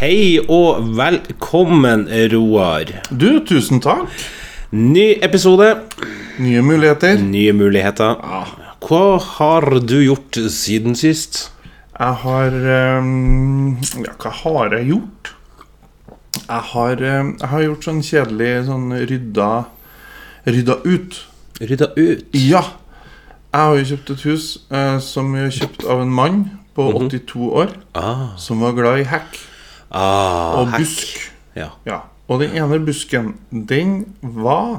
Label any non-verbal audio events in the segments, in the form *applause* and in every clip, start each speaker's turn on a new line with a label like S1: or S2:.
S1: Hei og velkommen, Roar.
S2: Du, tusen takk.
S1: Ny episode,
S2: Nye muligheter.
S1: nye muligheter. Hva har du gjort siden sist?
S2: Jeg har ehm, Ja, hva har jeg gjort? Jeg har, ehm, jeg har gjort sånn kjedelig sånn rydda Rydda ut.
S1: Rydda ut.
S2: Ja! Jeg har jo kjøpt et hus eh, som jeg har kjøpt av en mann på 82 år
S1: Ah,
S2: som var glad i hekk
S1: ah,
S2: og
S1: hekk.
S2: busk.
S1: Ja.
S2: Ja. Og den ene busken, den var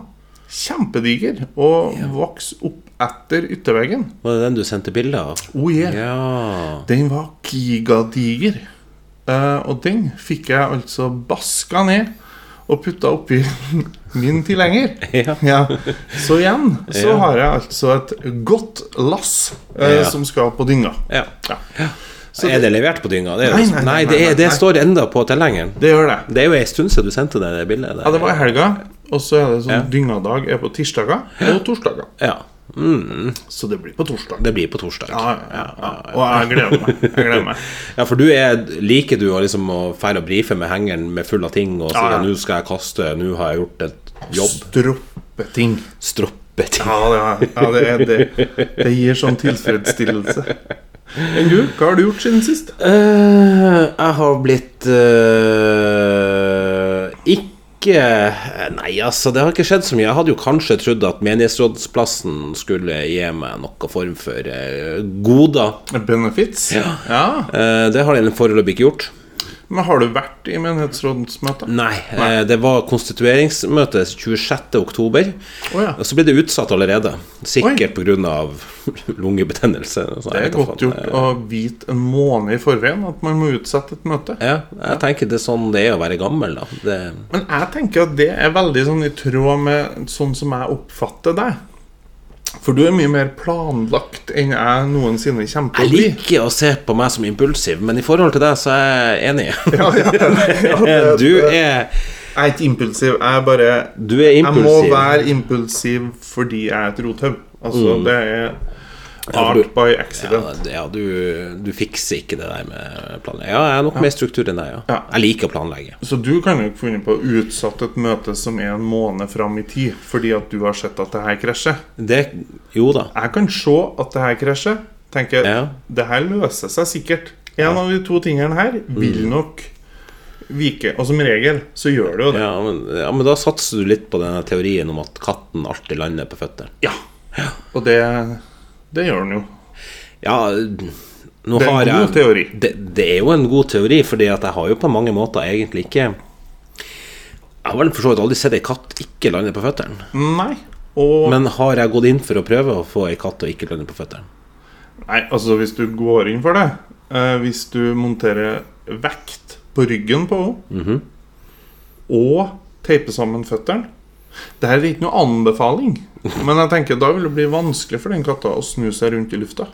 S2: kjempediger og vokste opp etter ytterveggen.
S1: Var det den du sendte bilde av?
S2: Oh yeah.
S1: Ja.
S2: Den var gigadiger. Eh, og den fikk jeg altså baska ned og putta oppi *laughs* min tilhenger.
S1: Ja.
S2: Ja. Så igjen så
S1: Ja.
S2: har jeg altså et godt lass eh,
S1: Ja.
S2: som skal på dynga.
S1: ja.
S2: Ja. Så
S1: Er det levert på dynga? Det er jo-
S2: Nei, nei, nei,
S1: nei, det,
S2: nei,
S1: er, det
S2: nei.
S1: står enda på tilhengeren.
S2: Det gjør det.
S1: Det er jo ei stund siden du sendte det det bildet. der.
S2: Ja, det var i helga, og så er det sånn dyngadag er på tirsdager og torsdager.
S1: Ja. Mm,
S2: Så det blir på torsdag.
S1: det blir på torsdag.
S2: Ja, ja, ja. Og jeg gleder meg. Jeg gleder
S1: *laughs*
S2: meg.
S1: Ja, for du er, liker du å liksom å feire og brife med hengeren med full av ting og si
S2: Ja, ja.
S1: at nå skal jeg kaste, nå har jeg gjort et jobb,
S2: Stroppeting.
S1: stroppeting.
S2: Ja, det, er, ja, det, er, det, det gir sånn tilfredsstillelse. Enn du, hva har du gjort siden sist?
S1: *laughs* Eh, jeg har blitt eh, ikke Nei, altså, det har ikke skjedd så mye. Jeg hadde jo kanskje trodd at menighetsrådsplassen skulle gi meg noe form for eh, goder.
S2: Benefits?
S1: Ja.
S2: Ja.
S1: Eh, det har den foreløpig ikke gjort.
S2: Men har du vært i menighetsrådsmøte?
S1: Nei, eh, det var konstitueringsmøte 26. oktober.
S2: Å ja.
S1: Og så ble det utsatt allerede. Sikkert pga. *laughs* lungebetennelse. Så jeg
S2: Det
S1: vet
S2: er
S1: da
S2: godt
S1: faen. eh.
S2: gjort å vite en måned i forveien at man må utsette et møte.
S1: Ja, jeg tenker det er sånn det er å være gammel, da. Det,
S2: Men jeg tenker at det er veldig sånn i tråd med sånn som jeg oppfatter deg. For du er mye mer planlagt enn jeg noensinne kommer
S1: jeg
S2: til å bli.
S1: liker å se på meg som impulsiv, men i forhold til deg så er jeg enig. *laughs*
S2: Ja, ja, *laughs* ja, det-
S1: Eh, Du er,
S2: Jeg er ikke impulsiv. Jeg er bare
S1: du er
S2: Jeg må
S1: impulsiv.
S2: være impulsiv fordi jeg er et rothaug. Altså, det er
S1: Mm. for
S2: art
S1: du-
S2: by accident.
S1: Ja, det- ja du, du fikser ikke det der med planlegging. Ja, jeg er nok mer struktur enn deg, ja.
S2: Ja.
S1: Jeg liker å planlegge.
S2: Så du kan jo ikke finne på å utsette et møte som er en måned fram i tid, fordi at du har sett at det her krasjer.
S1: Det Jo da.
S2: Jeg kan se at det her krasjer. Tenker
S1: Ja.
S2: det her løser seg sikkert. En av de to tingene her vil
S1: Mm.
S2: nok vike. Og som regel så gjør det jo det.
S1: Ja men, ja, men da satser du litt på denne teorien om at katten alltid lander på føttene.
S2: Ja. Og det, det gjør den jo.
S1: Ja, nå
S2: Det er en
S1: har jeg
S2: god teori.
S1: Det, det er jo en god teori, fordi at jeg har jo på mange måter egentlig ikke Jeg har vel for så vidt aldri sett ei katt ikke lande på føttene.
S2: Nei. Og
S1: Men har jeg gått inn for å prøve å få ei katt til å ikke lande på føttene?
S2: Nei, altså hvis du går inn for det eh, Hvis du monterer vekt på ryggen på henne Og teiper sammen føtteren Det her er ikke noe anbefaling Men jeg tenker da vil det bli vanskelig for den katta Å snu seg rundt i lufta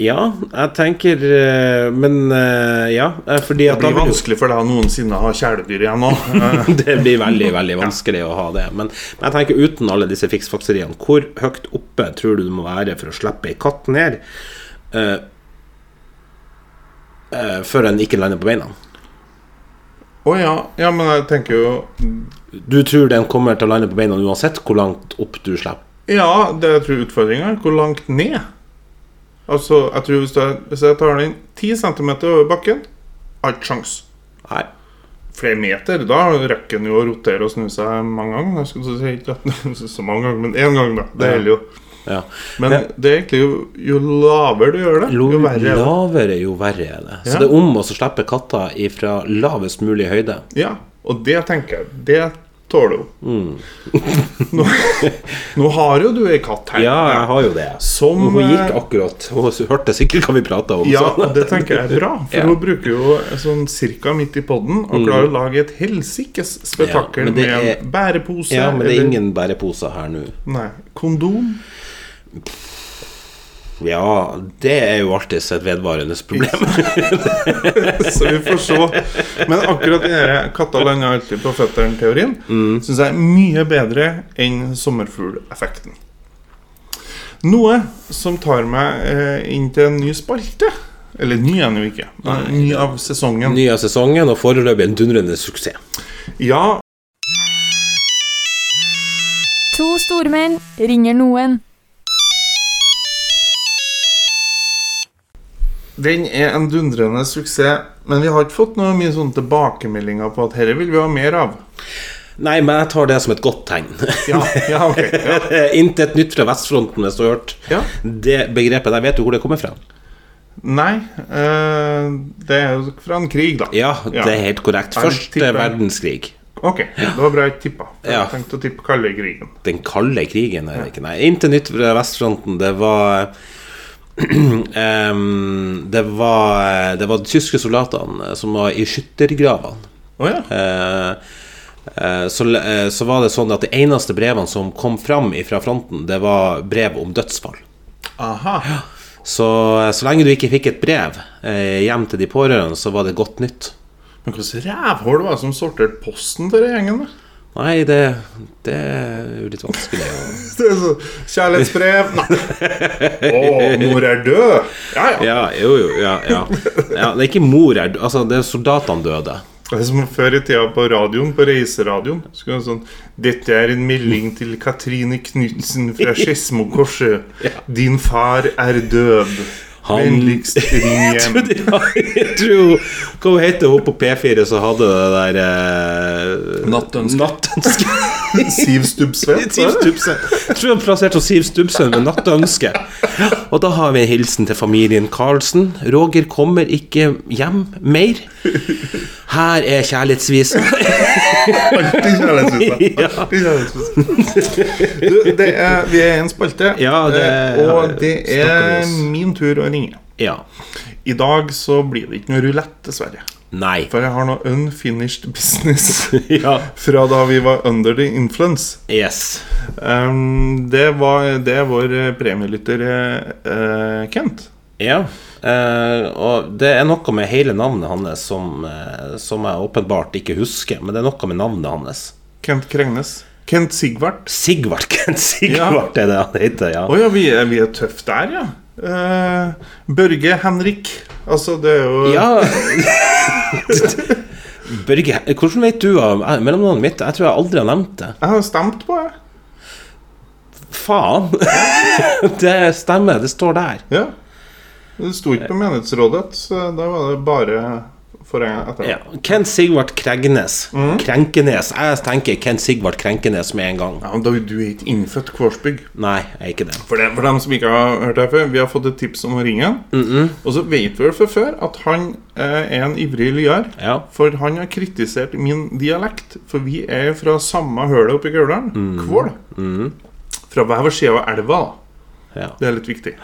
S1: Ja, jeg tenker eh, Men eh, ja, eh, fordi
S2: Det
S1: at da
S2: blir
S1: vil jo-
S2: vanskelig for deg å noensinne ha kjæledyr igjen nå Eh,
S1: *laughs* Det blir veldig veldig vanskelig å ha det. Men, men jeg tenker uten alle disse fiksfakseriene, hvor høyt oppe tror du du må være for å slippe ei katt ned eh, eh, før den ikke lander på beina?
S2: Å ja, ja, men jeg tenker jo
S1: Du tror den kommer til å lande på beina uansett hvor langt opp du slipper?
S2: Ja, det jeg tror utfordringen er Hvor langt ned? Altså, jeg tror hvis, jeg- hvis jeg tar den 10 cm over bakken Har ikke sjans
S1: Nei.
S2: flere meter. Da rekker han jo å rotere og snu seg mange ganger. Jeg skulle si ikke at *laughs* så mange ganger, men én gang, da. Det gjelder jo.
S1: Ja.
S2: Men
S1: Ja.
S2: det er egentlig jo, jo lavere du gjør det,
S1: Jo
S2: jo verre er det.
S1: lavere, jo verre er det. Så
S2: Ja.
S1: det er om å slippe katta ifra lavest mulig høyde.
S2: Ja, og det tenker jeg. Det tåler hun.
S1: Mm.
S2: *laughs* nå, nå har jo du ei katt her.
S1: Ja, jeg har jo det.
S2: Som,
S1: Og hun gikk
S2: eh,
S1: akkurat. Hun hørte sikkert hva vi prata om.
S2: Ja,
S1: så-
S2: det tenker jeg er bra, for
S1: Sånn. Ja. Mm.
S2: hun bruker jo sånn cirka midt i podden og klarer å lage et helsikes
S1: Ja,
S2: spetakkel
S1: men det
S2: med
S1: er-
S2: en
S1: *laughs*
S2: bærepose
S1: ja men det er
S2: eller-
S1: ingen bæreposer her nå.
S2: Nei, kondom.
S1: Ja, det er jo alltid et vedvarende problem.
S2: *laughs* Så vi får se. Men akkurat den der katta lander alltid på føttene-teorien
S1: Mm.
S2: Synes syns jeg er mye bedre enn sommerfugleffekten. Noe som tar meg eh, inn til en ny spalte. Eller ny er den jo ikke. men Ny av sesongen.
S1: Ny av sesongen, og foreløpig en dundrende suksess.
S2: Ja,
S3: To stormenn ringer noen.
S2: den er en dundrende suksess, men vi har ikke fått noe mye sånne tilbakemeldinger på at dette vil vi ha mer av.
S1: Nei, men jeg tar det som et godt tegn. *laughs*
S2: Ja, ja ok. Ja.
S1: Intet nytt fra vestfronten, hvis du har hørt
S2: Ja.
S1: det begrepet. Der vet du hvor det kommer fra.
S2: Nei, eh, det er jo fra en krig, da.
S1: Ja, det er helt korrekt.
S2: Jeg
S1: Første
S2: tipper-
S1: verdenskrig.
S2: Ok, det var bra jeg tippa. for
S1: Ja.
S2: Jeg tenkte å tippe kalde krigen.
S1: Den kalde krigen, er det ikke? Nei, intet nytt fra vestfronten. Det var *clears throat* Ehm, det, var, det var de tyske soldatene som var i skyttergravene.
S2: Å ja.
S1: Eh, eh, så, eh, så var det sånn at de eneste brevene som kom fram fra fronten, det var brev om dødsfall.
S2: Aha.
S1: Så eh, så lenge du ikke fikk et brev eh, hjem til de pårørende, så var det godt nytt.
S2: Men hvordan rævhål var det som sorterte posten til den gjengen? da? *laughs*
S1: Nei, det, det er jo litt vanskelig å
S2: Det er så, Kjærlighetsbrev Nei. Å, mor er død. Ja, ja.
S1: Ja, jo, jo, ja, ja. *laughs* ja det er ikke mor her, altså, det er soldatene døde.
S2: Det er som før i tida på radioen, på reiseradioen. Skulle det sånn Dette er en melding til Katrine Knutsen
S1: *laughs*
S2: fra Skedsmokorset. Din far er død.
S1: Han-
S2: Vennligst ring
S1: *laughs* Jeg
S2: hjem.
S1: trodde- ja, jeg tror Hva hun heter hun på P4 som hadde det der eh,
S2: Nattønske.
S1: Nattønske.
S2: Siv Stubbsveen.
S1: Siv Stubbsen. Jeg tror hun plasserte Siv Stubbsen ved Nattønske. Og da har vi en hilsen til familien Karlsen. Roger kommer ikke hjem mer. Her er kjærlighetsvisen.
S2: Alltid kjærlighetsvisa.
S1: *laughs* Ja.
S2: Alltid kjærlighetsvisa. Du, det er, vi er i en spalte,
S1: Ja, det
S2: eh, og det
S1: snakker
S2: er
S1: vi oss.
S2: min tur å ringe.
S1: Ja.
S2: I dag så blir det ikke noe rulett, dessverre.
S1: Nei.
S2: For jeg har noe unfinished business
S1: *laughs* Ja.
S2: fra da vi var under the influence.
S1: Yes.
S2: Um, det, var, det er vår eh, premielytter eh, Kent.
S1: Ja. eh, og det er noe med hele navnet hans som, eh, som jeg åpenbart ikke husker, men det er noe med navnet hans.
S2: Kent Krengnes. Kent Sigvart.
S1: Sigvard Kent Sigvard er det han heter, ja.
S2: Å ja, vi er, vi er tøff der, ja. Eh, Børge Henrik. Altså, det er jo
S1: ja. Børge, hvordan vet du av eh, mellomnavnet mitt? Jeg tror jeg aldri har nevnt det.
S2: Jeg har stemt på, jeg.
S1: Faen! *laughs* det stemmer, det står der.
S2: Ja. Det sto
S1: Eh.
S2: ikke på menighetsrådet, så da var det bare for en etter.
S1: Ja. Kent Sigvard Kregnes. Krenkenes. Jeg tenker Kent Sigvard Krenkenes med en gang.
S2: Ja, men da, du er ikke innfødt kvorsbygg.
S1: Nei, jeg er ikke det.
S2: For, det, for dem som ikke har hørt det før, vi har fått et tips om å ringe. Og så vet vi vel fra før at han eh, er en ivrig lyar.
S1: Ja.
S2: For han har kritisert min dialekt. For vi er fra samme hølet oppe i Gauldalen.
S1: Mm.
S2: Kvål. Fra hver side av elva. da.
S1: ja.
S2: Det er litt viktig.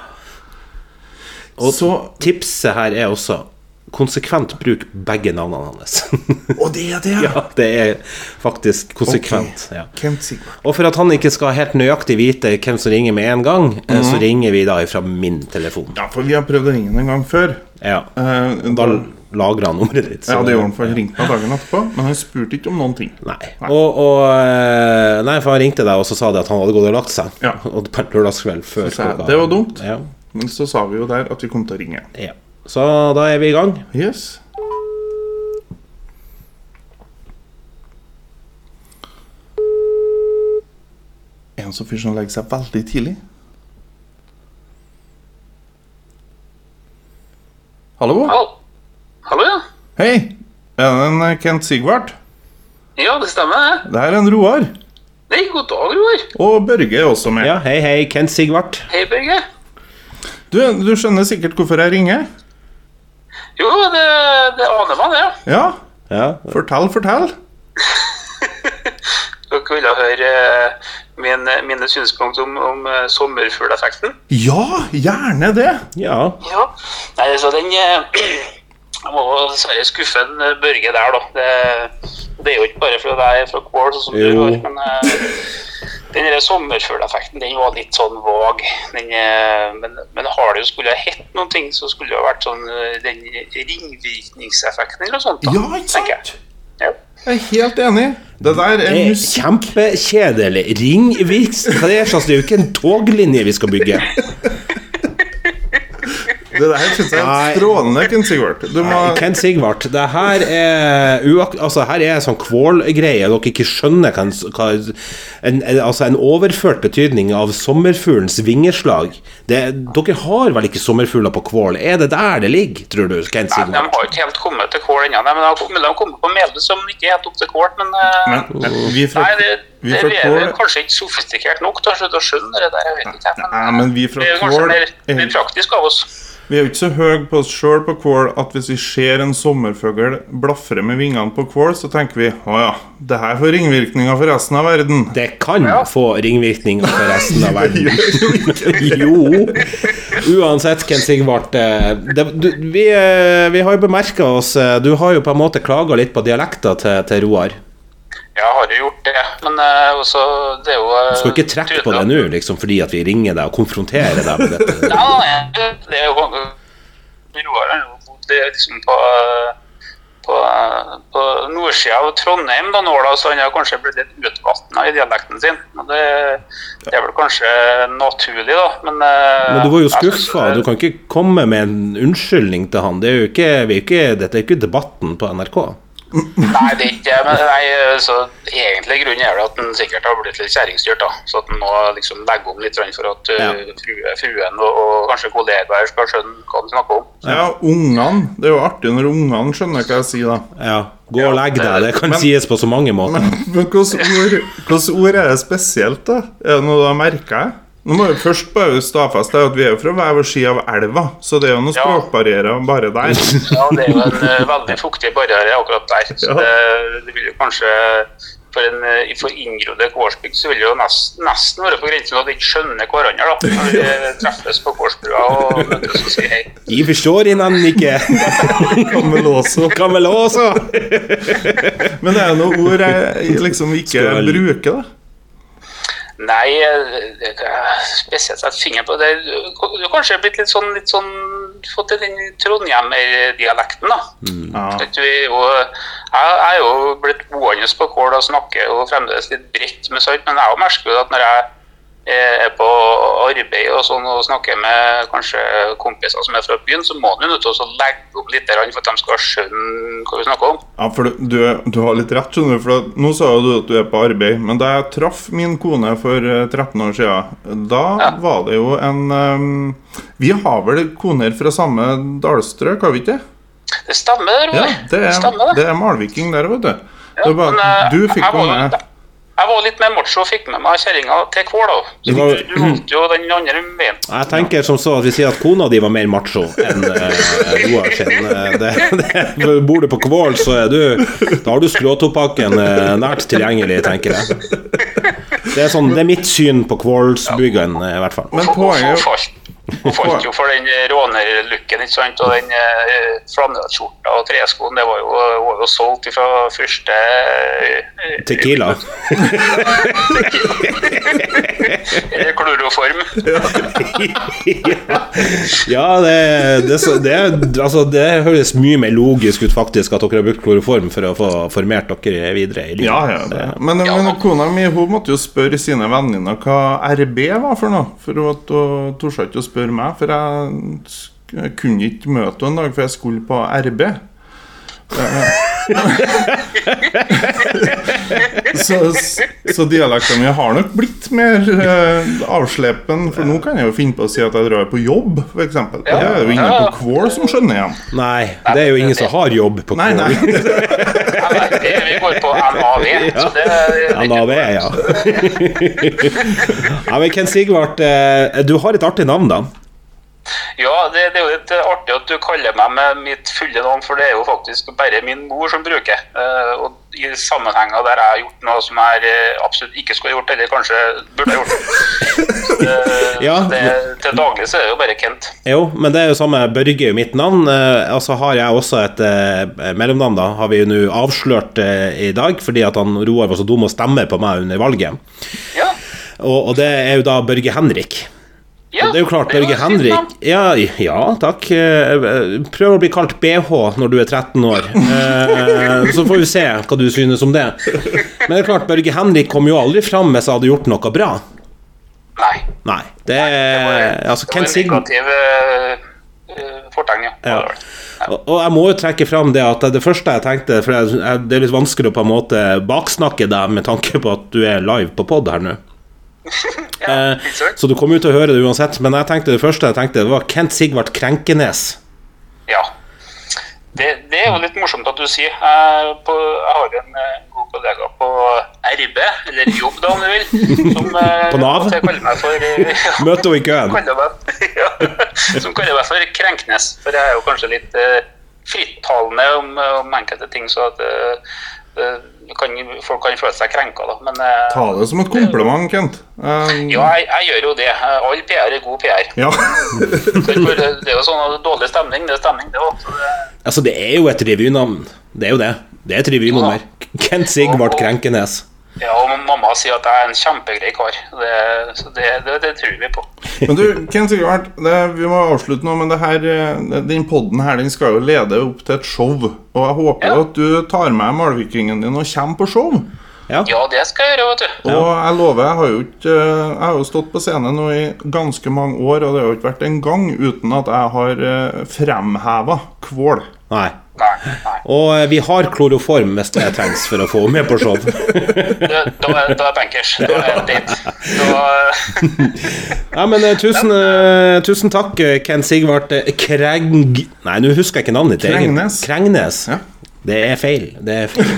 S1: Og-
S2: så
S1: Tipset her er også konsekvent bruk begge navnene hans. *laughs*
S2: Å, det er det,
S1: ja, det er faktisk konsekvent. Ja.
S2: Kent Sigvard.
S1: Og for at han ikke skal helt nøyaktig vite hvem som ringer med en gang, eh,
S2: Mhm.
S1: så ringer vi da fra min telefon.
S2: Ja, for vi har prøvd å ringe ham en gang før.
S1: Ja.
S2: Eh,
S1: Da
S2: da,
S1: lagrer han nummeret ditt. så
S2: ja,
S1: det-
S2: det gjorde han, for han ringte meg dagen etterpå, men han spurte ikke om noen ting.
S1: Nei. Og, og eh, Nei, for han ringte deg og så sa det at han hadde gått og lagt seg.
S2: Ja.
S1: *laughs* Og på lørdagskveld før
S2: sa jeg, det var dumt.
S1: Ja.
S2: Men så sa vi jo der at vi kom til å ringe.
S1: ja. Så da er vi i gang.
S2: Yes. En sånn fyr som legger seg veldig tidlig. Hallo?
S4: Hall- Hallo, ja.
S2: Hei! Er det en eh, Kent Sigvart?
S4: Ja, det stemmer. det.
S2: Det her er en Roar.
S4: Nei, god dag, Roar.
S2: Og Børge er også med.
S1: Ja, hei, hei, Kent Sigvart.
S4: Hei, Børge.
S2: Du, du skjønner sikkert hvorfor jeg ringer?
S4: Jo, det, det aner meg, det. ja. *laughs*
S1: Ja.
S2: Ja? Fortell, fortell.
S4: Dere ville høre eh, min, mine synspunkt om, om eh, sommerfugleffekten.
S2: Ja, gjerne det.
S1: ja.
S4: Ja. Nei, altså, den eh, *clears throat* Jeg må dessverre skuffe en eh, Børge der, da. Det, det er jo ikke bare fordi jeg er fra Kvål, sånn som du
S1: Jo.
S4: var, men eh, den der sommerfugleffekten den var litt sånn vag. Den, eh, men, men har det jo skulle ha hett noen ting, så skulle det ha vært sånn eh, den ringvirkningseffekten eller noe sånt. da,
S2: Ja, ikke
S4: tenker jeg.
S2: sant?
S4: Ja.
S2: Jeg er helt enig. Det der er
S1: Det er
S2: musikk.
S1: Eh, kjempekjedelig. Ring Virks. Hva er det, slags? det er jo ikke en toglinje vi skal bygge.
S2: Det der syns jeg er
S1: Nei.
S2: helt strålende, Ken Sigvart. Du må
S1: Ken Sigvart, det her er uak altså, her er sånn kvalgreie dere ikke skjønner hva, en- hva en, en, altså, en overført betydning av sommerfuglens vingeslag. Det, dere har vel ikke sommerfugler på Kvål? Er det der det ligger, tror du, Ken
S4: Nei, de
S1: Sigvart?
S4: har ikke helt kommet til kål ennå. Nei, men de har kommet- de har kommet på Melbu, som ikke er helt opp til kål. Men, eh,
S2: Men vi fra,
S4: nei, det,
S2: vi
S4: det,
S2: fra
S4: vi er
S2: Kvål
S4: vel kanskje ikke sofistikert nok til å slutte å skjønne det der. Jeg vet ikke, men,
S2: Nei, men vi fra
S4: det er kanskje
S2: Kvål
S4: mer,
S2: er-
S4: mer praktisk av oss.
S2: Vi er jo ikke så høye på oss sjøl på Kvål at hvis vi ser en sommerfugl blafre med vingene på Kvål, så tenker vi å ja, det her får ringvirkninger for resten av verden.
S1: Det kan få ringvirkninger for resten av verden. *laughs* jo. Uansett, Ken Sigvart. eh, Det, du, vi, eh, vi har jo bemerka oss eh, Du har jo på en måte klaga litt på dialekta til, til Roar.
S4: Ja, jeg har jo gjort det, men eh, også, det er jo eh,
S1: Du skal ikke trekke på det nå liksom, fordi at vi ringer deg og konfronterer deg med dette.
S4: Ja, nei, det er jo Roar har jo bodd det liksom på, på, på nordsida av Trondheim da nå, da, så han har kanskje blitt litt utvatna i dialekten sin. Og det, det er vel kanskje naturlig, da. Men, eh,
S1: Men du var jo skuffa. Du kan ikke komme med en unnskyldning til han. Det er jo ikke, vi er jo ikke, dette er jo ikke debatten på NRK.
S4: Nei, det er ikke det. Men nei, så egentlig grunnen er det at han sikkert har blitt litt kjerringstyrt, da. Så at han nå liksom legger om litt grann for at
S1: Ja.
S4: eh, frue, fruen og, og kanskje kollegaer skal skjønne hva han snakker om.
S2: Ja, ungene. Det er jo artig når ungene skjønner hva jeg sier, da.
S1: Ja, gå og legg deg. Det kan
S2: Men-
S1: sies på så mange måter.
S2: *laughs* Men hvilke ord, hvilke ord er det spesielt, da? Er det noe du har merka? Nå må vi først bare stadfeste at vi er jo fra hver vår side av elva, så det er jo noen
S4: Ja.
S2: språkbarrierer bare der.
S4: Ja, det er jo en eh, veldig fuktig barriere akkurat der. Så
S2: Ja.
S4: det, det vil jo kanskje For, en, eh, for inngrodde Kårsbygd så vil det jo nesten, nesten være på grensen til at vi ikke skjønner hverandre. da, Når vi treffes på Kårsbrua og møtes og sier hei.
S1: Vi forstår hverandre ikke.
S2: Kamelåso.
S1: Kan vel også.
S2: Men er det noen ord jeg liksom ikke
S1: Skal vel-
S2: bruker, da?
S4: Nei, eh, det er spesielt sett fingeren på det. Du har kanskje blitt litt sånn, litt sånn fått den Trondheim-dialekten, da.
S2: Ja.
S4: Vet du, vi er jo, jeg jeg er jo blitt boende på Kål og snakker jo fremdeles litt bredt med sånt, men jeg merker jo at når jeg eh, er på arbeid og sånn og snakker med kanskje kompiser som er fra byen, så må man jo nødt til å så legge opp litt grann for at de skal skjønne hva vi snakker om.
S2: Ja, for du, du, du har litt rett, skjønner du. For at- nå sa jo du at du er på arbeid, men da jeg traff min kone for eh, 13 år siden, da
S4: Ja.
S2: var det jo en ehm, Vi har vel koner fra samme dalstrøk, har vi ikke det?
S4: Det stemmer,
S2: Ja,
S4: Roar.
S2: det er,
S4: stemmer,
S2: det er malviking der, vet du. Det er bare,
S4: men, eh,
S2: du fikk
S4: jeg
S2: jo
S4: var-
S2: med
S4: Jeg var litt mer macho og fikk med meg kjerringa til Kål, da.
S1: Du
S4: Så
S1: var-
S4: du, du holdt jo den andre veien.
S1: Jeg tenker som så at vi sier at kona di var mer macho enn eh, Roar sin. Eh, Det, *laughs* det, bor du på Kvål, så er du Da har du skråtopakken eh, nært tilgjengelig, tenker jeg. Det er, sånn, det er mitt syn på Kvålsbyggen, eh, i hvert fall.
S2: Men
S4: Hun-
S2: poenget er jo
S4: Hun falt, hun falt jo for den eh, rånerlooken, ikke sant. Og den eh, flanellskjorta og treskoen, det var jo, hun var jo solgt fra første eh,
S1: Tequila.
S4: eh, kloroform. *laughs*
S1: Ja, det, det, så- det, altså, det høres mye mer logisk ut, faktisk, at dere har brukt kloroform for å få formert dere videre i livet.
S2: Ja, ja. Det. Men, men kona mi hun måtte jo spørre sine venninner hva RB var for noe. For hun at hun torde ikke å spørre meg, for jeg sk- jeg kunne ikke møte henne en dag, for jeg skulle på RB. Eh, *laughs* så, så dialekten min har nok blitt mer eh, avslepen, for nå kan jeg jo finne på å si at jeg drar på jobb, f.eks. Det er jo ingen på Kvål som skjønner igjen.
S1: Nei, det er jo ingen som har jobb på
S2: Nei,
S1: Kvål.
S2: nei.
S4: Ja, nei, det- Vi går på MAV. Så det,
S1: Ja, da vet jeg, ja. *laughs* ja men Ken Sigvart, eh, du har et artig navn, da.
S4: ja det, det er jo litt artig at du kaller meg med mitt fulle navn, for det er jo faktisk bare min mor som bruker. eh, Og i sammenhenger der jeg har gjort noe som jeg eh, absolutt ikke skulle ha gjort, eller kanskje burde
S1: *laughs*
S4: ha gjort. Eh,
S1: Ja.
S4: det, til daglig så er det jo bare Kent.
S1: Jo, men det er jo samme Børge er jo mitt navn. eh, Og så har jeg også et eh, mellomnavn, da. Har vi jo nå avslørt eh, i dag, fordi at han Roar var så dum og stemmer på meg under valget.
S4: Ja.
S1: Og, og det er jo da Børge Henrik.
S4: Ja,
S1: Og det er jo klart,
S4: det
S1: Børge
S4: et fint navn.
S1: Henrik ja, ja, takk. Eh, eh, Prøv å bli kalt BH når du er 13 år. Eh, Så får vi se hva du synes om det. Men det er klart, Børge Henrik kom jo aldri fram hvis jeg hadde gjort noe bra.
S4: Nei.
S1: Nei. Det
S4: Det var,
S1: er altså,
S4: det var
S1: Ken
S4: en
S1: Sigvart
S4: negativ eh, eh, fortegn, ja.
S1: Ja.
S4: Det var det.
S1: Og, og jeg må jo trekke fram det at det første jeg tenkte For jeg, jeg, det er litt vanskelig å på en måte baksnakke deg med tanke på at du er live på pod her nå.
S4: *laughs* Ja,
S1: Eh,
S4: litt sånn.
S1: Så du kommer jo til å høre det uansett. Men jeg tenkte det første jeg tenkte, det var Kent Sigvart Krenkenes.
S4: Ja. Det, det er jo litt morsomt at du sier. Jeg, på, jeg har en eh, god kollega på RB, eller jobb da om du vil,
S1: *laughs*
S4: som eh,
S1: På Nav?
S4: av og til kaller meg for eh, *laughs*
S1: Møt henne i køen.
S4: kaller meg, *laughs* ja, Som kaller meg for Krenknes, for jeg er jo kanskje litt eh, frittalende om, om enkelte ting, så at eh, eh, kan, folk kan føle seg krenka, da. Men eh,
S2: Ta det som et kompliment, Kent. Um,
S4: ja, jeg, jeg gjør jo det. All PR er god
S1: *laughs*
S4: PR.
S2: ja.
S4: Det er jo sånn at dårlig stemning, det er stemning, det òg.
S1: Altså, det er jo et revynavn. Det er jo det. Det er et revynummer. Kent Sigvart Krenkenes.
S4: Ja, og mamma sier at jeg er en kjempegrei kar. Det, så det, det, det tror vi på.
S2: Men du, Kent Sigvard, det, vi må avslutte nå, men det her, eh, den podden her den skal jo lede opp til et show. Og jeg håper
S4: Ja.
S2: at du tar med malvikingen din og kommer på show.
S4: Ja, det skal jeg gjøre, vet du.
S2: Og jeg lover, jeg har, jo ikke, eh, jeg har jo stått på scenen nå i ganske mange år, og det har jo ikke vært en gang uten at jeg har eh, fremheva Kvål.
S1: Nei.
S4: Nei, nei.
S1: Og eh, vi har kloroform hvis det trengs for å få henne med på show.
S4: Da, da, er- da er bankers. Da er det date. Da,
S1: Ja, men eh, tusen, eh, tusen takk, eh, Kent Sigvart eh, Kreng... Nei, nå husker jeg ikke navnet ditt. egentlig.
S2: Krengnes.
S1: Krengnes.
S2: Ja.
S1: Det er feil. Det er feil.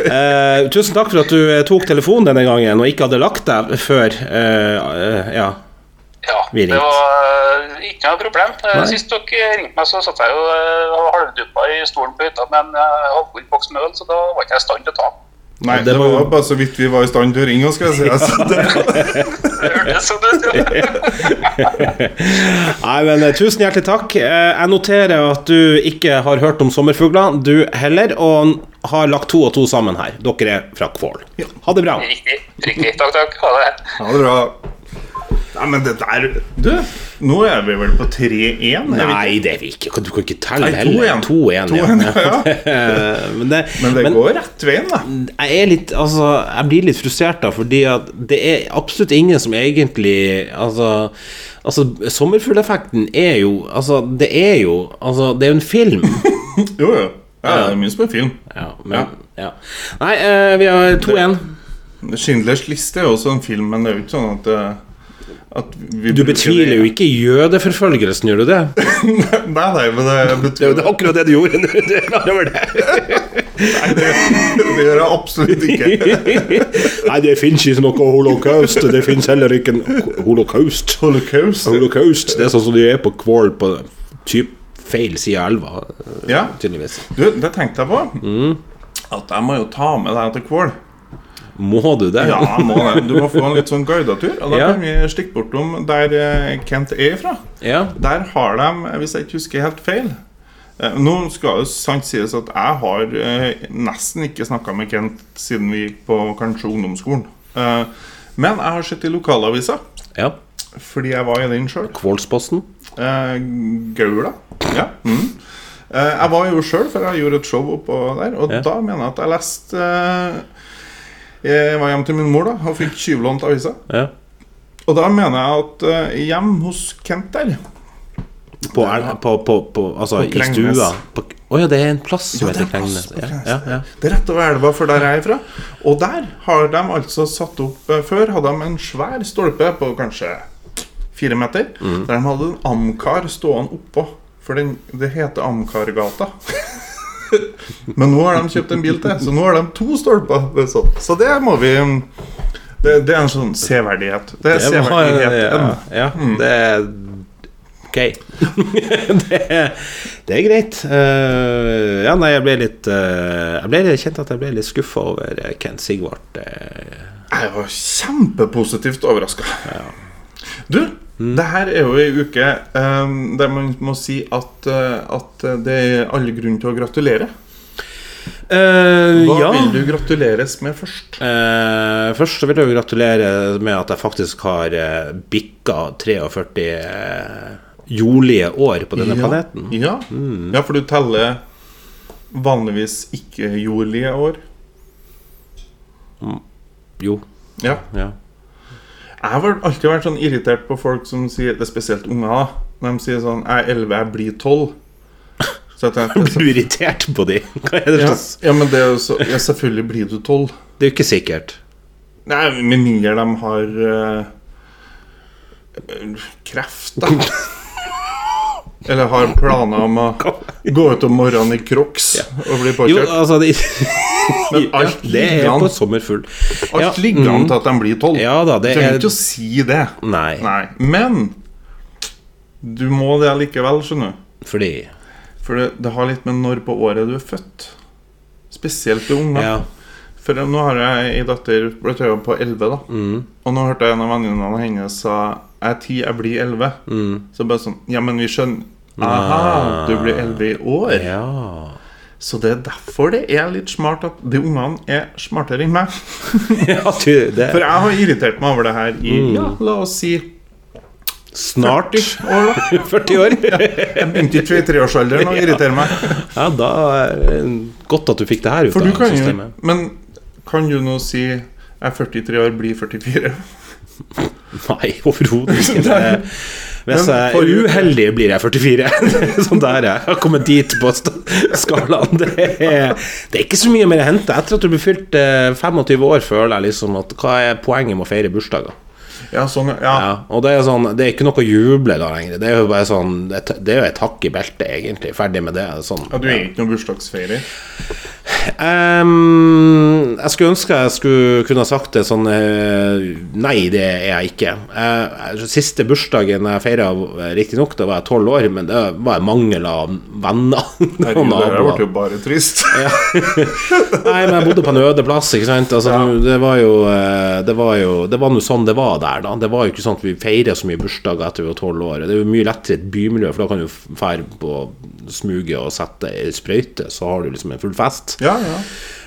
S1: Eh, tusen takk for at du eh, tok telefonen denne gangen og ikke hadde lagt deg før eh, eh, Ja.
S4: ja,
S1: *laughs* Vi
S4: det
S1: ringte.
S4: var eh, ikke noe problem.
S1: Nei.
S4: Sist dere ringte meg, så satt jeg jo eh, og halvduppa i stolen på hytta med en eh, halvfull boks med øl, så da var ikke jeg i stand til å ta den.
S2: Nei,
S1: Ja, det
S2: det
S1: var
S2: var
S1: jo-
S2: jo bare så vidt vi var i stand til å ringe, skal jeg si. Så det
S4: Det hørtes sånn ut.
S1: *laughs*
S4: ja.
S1: Nei, men eh, tusen hjertelig takk. Eh, Jeg noterer at du ikke har hørt om sommerfugler, du heller, og har lagt to og to sammen her. Dere er fra Kvål. Ha det bra.
S4: Riktig. riktig. Takk, takk. Ha det.
S2: Ja, det er bra. Nei, men det der Du, nå er vi vel på 3-1? er vi ikke?
S1: Nei, det er vi ikke. Du kan ikke telle
S2: Nei,
S1: heller.
S2: 2-1.
S1: 2-1. Ja.
S2: 2-1, ja.
S1: *laughs* Eh, men det,
S2: Men det
S1: men Mm.
S2: går rett veien, da.
S1: jeg, er litt, altså, jeg blir litt frustrert, da, fordi at det er absolutt ingen som egentlig Altså, altså sommerfugleffekten er jo Altså, det er jo Altså, det er jo en film.
S2: Jo, jo. Ja, det er mye som er film.
S1: Ja, men, ja. Nei, eh, vi har 2-1.
S2: Schindlers liste er jo også en film, men det er jo ikke sånn at, eh, at vi
S1: Du betviler jo ikke jødeforfølgelsen, gjør du det?
S2: *laughs* Nei, nei, men eh, det betviler
S1: akkurat *laughs* det du gjorde nå. Du er klar over *laughs* det?
S2: Nei, det, det gjør jeg absolutt ikke. *laughs*
S1: Nei, det fins ikke noe holocaust. Det fins heller ikke en holocaust.
S2: Holocaust.
S1: Holocaust, Det er sånn som de er på Kvål på typ feil side av elva,
S2: Ja,
S1: tydeligvis.
S2: du, det tenkte jeg på. At jeg må jo ta med deg til Kvål.
S1: Må du det?
S2: Ja, jeg må det. Du må få en litt sånn guidetur, og da
S1: Ja.
S2: kan vi stikke bortom der eh, Kent er ifra.
S1: Ja.
S2: Der har de, hvis jeg ikke husker helt feil eh, Nå skal jo sant sies at jeg har eh, nesten ikke snakka med Kent siden vi gikk på kanskje ungdomsskolen. Eh, men jeg har sett i lokalavisa,
S1: ja.
S2: fordi jeg var i den sjøl.
S1: Kvålsposten.
S2: Eh, Gaula. Ja. Mm. Eh, jeg var jo sjøl, for jeg gjorde et show oppå der, og da mener jeg at jeg leste eh, Jeg var hjemme til min mor da og fikk tyvlånt avisa.
S1: Ja.
S2: Og da mener jeg at eh, hjem hos Kent der
S1: På, el- på, på, på Altså,
S2: På
S1: i
S2: Krengnes.
S1: stua. Å ja, det er en plass som
S2: Ja, det er
S1: heter
S2: en
S1: Krengnes.
S2: plass på
S1: Ja,
S2: Krengnes.
S1: ja, ja.
S2: Det er rett over elva, for der er jeg fra. Og der har de altså satt opp eh, Før hadde de en svær stolpe på kanskje fire meter,
S1: Mm.
S2: der de hadde en amcar stående oppå. For den, det heter Amcargata. *laughs* Men nå har de kjøpt en bil til, så nå har de to stolper. Det er sånn. Så det må vi Det, det er en sånn severdighet. Det er
S1: Det var-
S2: severdighet.
S1: ja, ja, det er Ok. *laughs* det, er- det er greit. Eh, ja, nei, jeg ble litt eh, Jeg ble litt kjent at jeg ble litt skuffa over eh, Kent Sigvart. eh.
S2: Jeg var kjempepositivt overraska. Du, det her er jo ei uke ehm, der man må si at, eh, at det er alle grunn til å gratulere.
S1: Eh,
S2: Hva
S1: ja.
S2: vil du gratuleres med først?
S1: Eh, først så vil jeg jo gratulere med at jeg faktisk har uh, bikka 43 eh, jordlige år på denne
S2: ja.
S1: planeten. Mm.
S2: Ja. ja, for du teller vanligvis ikke-jordlige år.
S1: Jo.
S2: Ja.
S1: Ja. *laughs*
S2: Jeg har alltid vært sånn irritert på folk som sier Det er spesielt unger, da. Når de sier sånn Jeg er 11, jeg blir 12. Så jeg tenkte
S1: *laughs* Blir du irritert på de? Hva er det
S2: ja,
S1: slags
S2: ja, men det er jo så Ja, selvfølgelig blir du 12.
S1: Det er jo ikke sikkert.
S2: Nei, med mindre de har eh, kreft,
S1: *laughs*
S2: da. Eller har planer om å gå ut om morgenen i crocs og bli
S1: Jo,
S2: påkjørt.
S1: altså det,
S2: *laughs* Men
S1: ja, det
S2: alt
S1: er
S2: ligger an-
S1: på sommerfugl. eh, Ja, Mm.
S2: alt ligger an til at de blir 12.
S1: Ja da, det
S2: Du trenger
S1: er-
S2: ikke å si det.
S1: Nei,
S2: Nei. Men du må det likevel, skjønner du.
S1: Mm, fordi
S2: For det, det har litt med når på året du er født. Spesielt til unger.
S1: Ja.
S2: For nå har jeg ei datter ble tøya på 11, da.
S1: Mm.
S2: Og nå hørte jeg en av venninnene hennes sa Jeg er 10, jeg blir 11.
S1: Mm.
S2: Så bare sånn Ja, men vi skjønner. Aha, du blir 11 i år.
S1: Ah. ja.
S2: Så det er derfor det er litt smart at de ungene er smartere enn meg. *laughs*
S1: ja du, det
S2: For jeg har irritert meg over det her i
S1: Mm.
S2: ja, la oss si
S1: Snart *laughs*
S2: 40 år, da.
S1: 40 år.
S2: Jeg begynte i
S1: *laughs*
S2: 23-årsalderen å irritere meg.
S1: Ja, da er det godt at du fikk det her ut
S2: For du
S1: av
S2: kan jo
S1: systemet.
S2: Men kan du nå si jeg er 43 år, blir 44.
S1: Nei, overhodet ikke. Det.
S2: *laughs* Nei.
S1: Hvis
S2: Men
S1: jeg
S2: forrige
S1: er
S2: uke-
S1: uheldig, blir jeg 44. *laughs* sånn der er jeg. Jeg har kommet dit på st- skalaen. Det er, det er ikke så mye mer å hente. Etter at du blir fylt eh, 25 år, føler jeg liksom at hva er poenget med å feire bursdager?
S2: *laughs* Ja, sånn, ja.
S1: Ja, og det er sånn, det er ikke noe å juble da lenger. Det er jo bare sånn Det det er jo et hakk i beltet, egentlig. Ferdig med det. Sånn.
S2: ja. Du er ikke noen bursdagsfeirer.
S1: Ehm, jeg skulle ønske jeg skulle kunne ha sagt det sånn eh, Nei, det er jeg ikke. Eh, siste bursdagen jeg feira, riktignok da var jeg tolv år, men det var en mangel av venner. og
S2: Herregud, det her
S1: naboer.
S2: ble jo bare
S1: *laughs*
S2: trist.
S1: Nei, men jeg bodde på en øde plass, ikke sant. Altså, Det var jo eh, Det var jo Det var nå sånn det var der, da. Det var jo ikke sånn at vi feirer så mye bursdager etter vi var tolv år. Det er jo mye lettere i et bymiljø, for da kan du dra på smuget og sette ei sprøyte, så har du liksom en full fest.
S2: Ja, ja.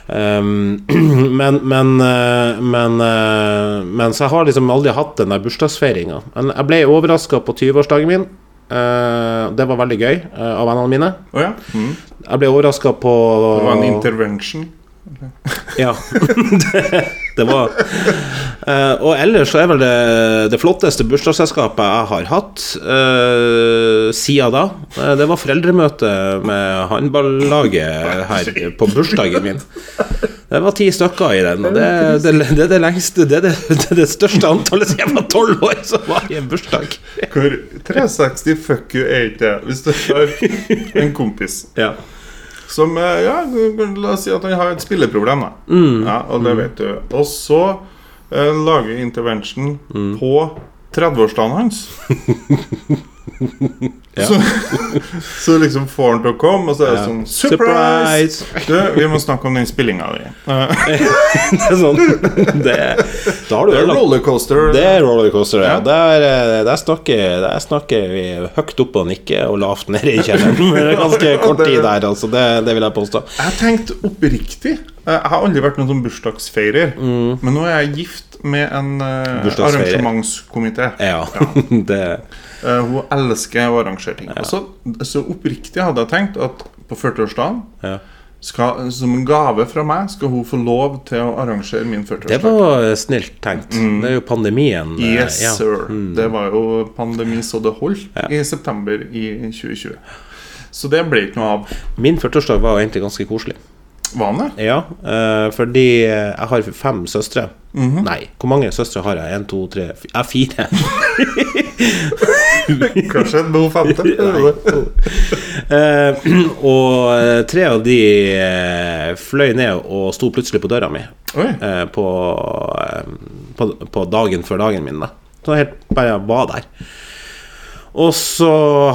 S1: Um, *clears throat* men, men, eh, men, eh, men så jeg har liksom aldri hatt den der bursdagsfeiringa. Men jeg ble overraska på 20-årsdagen min. Eh, det var veldig gøy eh, av vennene mine.
S2: Å ja. Mm.
S1: Jeg ble overraska på
S2: Det var en intervention.
S1: Ja. *laughs* det, det var Eh, Og ellers så er vel det det flotteste bursdagsselskapet jeg har hatt eh, siden da. eh, det var foreldremøte med håndballaget her på bursdagen min. Det var ti stykker i den, og det, det, det er det lengste Det er det, det, er det største antallet siden jeg var tolv år som var i en bursdag.
S2: Hvor 360 fuck you er ikke det. Hvis du har en kompis
S1: Ja.
S2: som eh, Ja, la oss si at han har et spilleproblem, da.
S1: Mm.
S2: Ja, og det vet du. Og så eh, lager intervention
S1: Mm.
S2: på 30-årsdagen hans.
S1: *laughs* Ja.
S2: Så, *laughs* så liksom får han til å komme, og så er det sånn Surprise!
S1: Surprise!
S2: Du, vi må snakke om den spillinga di. Eh,
S1: Det er sånn *laughs* det, Da har du ødelagt
S2: Rollercoaster.
S1: Det er rollercoaster, ja.
S2: Ja.
S1: Der, eh, der, snakker, der snakker vi høyt opp og nikker og lavt nede i
S2: *laughs*
S1: kjelleren. Det er Ganske kort tid der, altså. Det, det vil jeg påstå.
S2: Jeg tenkte oppriktig eh, Jeg har aldri vært noen sånn bursdagsfeirer. Men nå er jeg gift med en eh,
S1: Mm. Bursdagsfeirer.
S2: arrangementskomité.
S1: Ja. *laughs* Det,
S2: Eh, hun elsker å arrangere ting. Og så, så oppriktig hadde jeg tenkt at på 40-årsdagen
S1: ja.
S2: skal- som en gave fra meg skal hun få lov til å arrangere min
S1: det
S2: 40-årsdag.
S1: var snilt tenkt. Det er jo pandemien. eh,
S2: Mm. Yes,
S1: ja.
S2: sir. Det var jo pandemi så det holdt i september i 2020. Så det ble ikke noe av.
S1: Min 40-årsdag var jo egentlig ganske koselig.
S2: Vane?
S1: Ja, eh, fordi jeg har fem søstre.
S2: Mhm.
S1: Nei, hvor mange søstre har jeg? En, to, tre fi- Jeg har fire. *laughs*
S2: Kanskje en
S1: *laughs*
S2: behov femte?
S1: Eh, *clears throat* og eh, tre av de eh, fløy ned og sto plutselig på døra mi.
S2: Oi.
S1: eh, på, eh, på, på dagen før dagen min. Da. Så jeg helt bare var der. Og så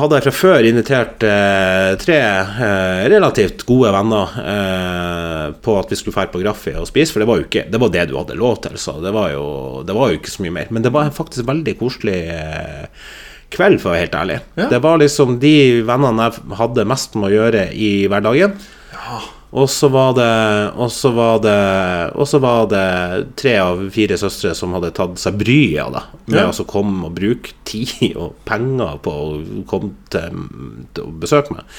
S1: hadde jeg fra før invitert eh, tre eh, relativt gode venner eh, på at vi skulle dra på Graffi og spise, for det var jo ikke det var det du hadde lov til. Så det var jo, det var jo ikke så mye mer. Men det var en faktisk veldig koselig eh, kveld, for å være helt ærlig.
S2: Ja.
S1: Det var liksom de vennene jeg hadde mest med å gjøre i hverdagen. Og så var det Og så var det Og så var det tre av fire søstre som hadde tatt seg bryet av det, med
S2: Ja.
S1: å så komme og bruke tid *laughs* og penger på å komme til, til å besøke meg.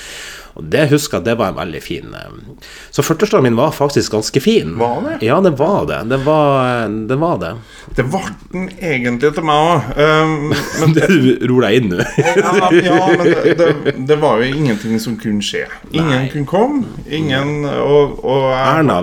S1: Og det husker jeg at det var en veldig fin eh, Så 40-årsdagen min var faktisk ganske fin.
S2: Var det?
S1: Ja, det var det. Det var det. Var *laughs* det.
S2: Det ble den egentlig til meg òg.
S1: *laughs*
S2: men,
S1: Du ror deg inn nå.
S2: ja, ja, men det, det, det var jo ingenting som kunne skje. Ingen
S1: Nei.
S2: kunne komme. Ingen Og, og jeg,
S1: *laughs* Erna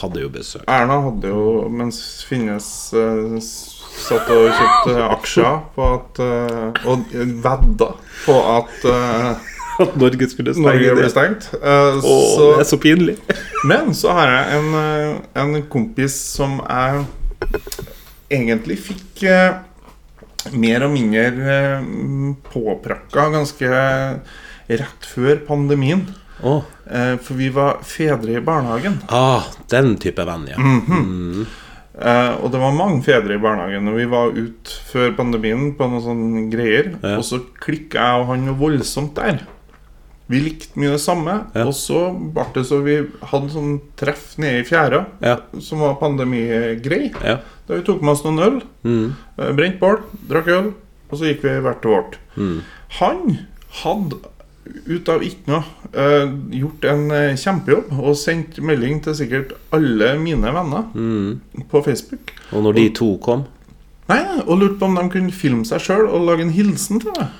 S1: hadde jo besøk.
S2: Erna hadde jo, mens Finnes eh, s- satt og kjøpte aksjer på at eh, Og vedda på at eh,
S1: At Norge skulle
S2: Norge ble
S1: det.
S2: stengt. eh,
S1: Å,
S2: så,
S1: det er så pinlig.
S2: men så har jeg en, eh, en kompis som jeg egentlig fikk eh, mer og mindre eh, påprakka ganske rett før pandemien.
S1: Å,
S2: Eh, for vi var fedre i barnehagen.
S1: ah, den type venn, ja.
S2: Eh, og det var mange fedre i barnehagen. Og vi var ut før pandemien på noen sånne greier.
S1: Ja.
S2: Og så klikka jeg og han noe voldsomt der. Vi likte mye det samme.
S1: Ja.
S2: Og så ble det så vi hadde sånn treff nede i fjæra,
S1: Ja.
S2: som var pandemigrei.
S1: ja.
S2: Da vi tok med oss noen øl, eh, brent bål, drakk øl, og så gikk vi hvert til vårt. Han hadde ut av ikke noe eh, gjort en eh, kjempejobb og sendt melding til sikkert alle mine venner på Facebook.
S1: Og når de to kom
S2: Nei, Og lurte på om de kunne filme seg sjøl og lage en hilsen til meg.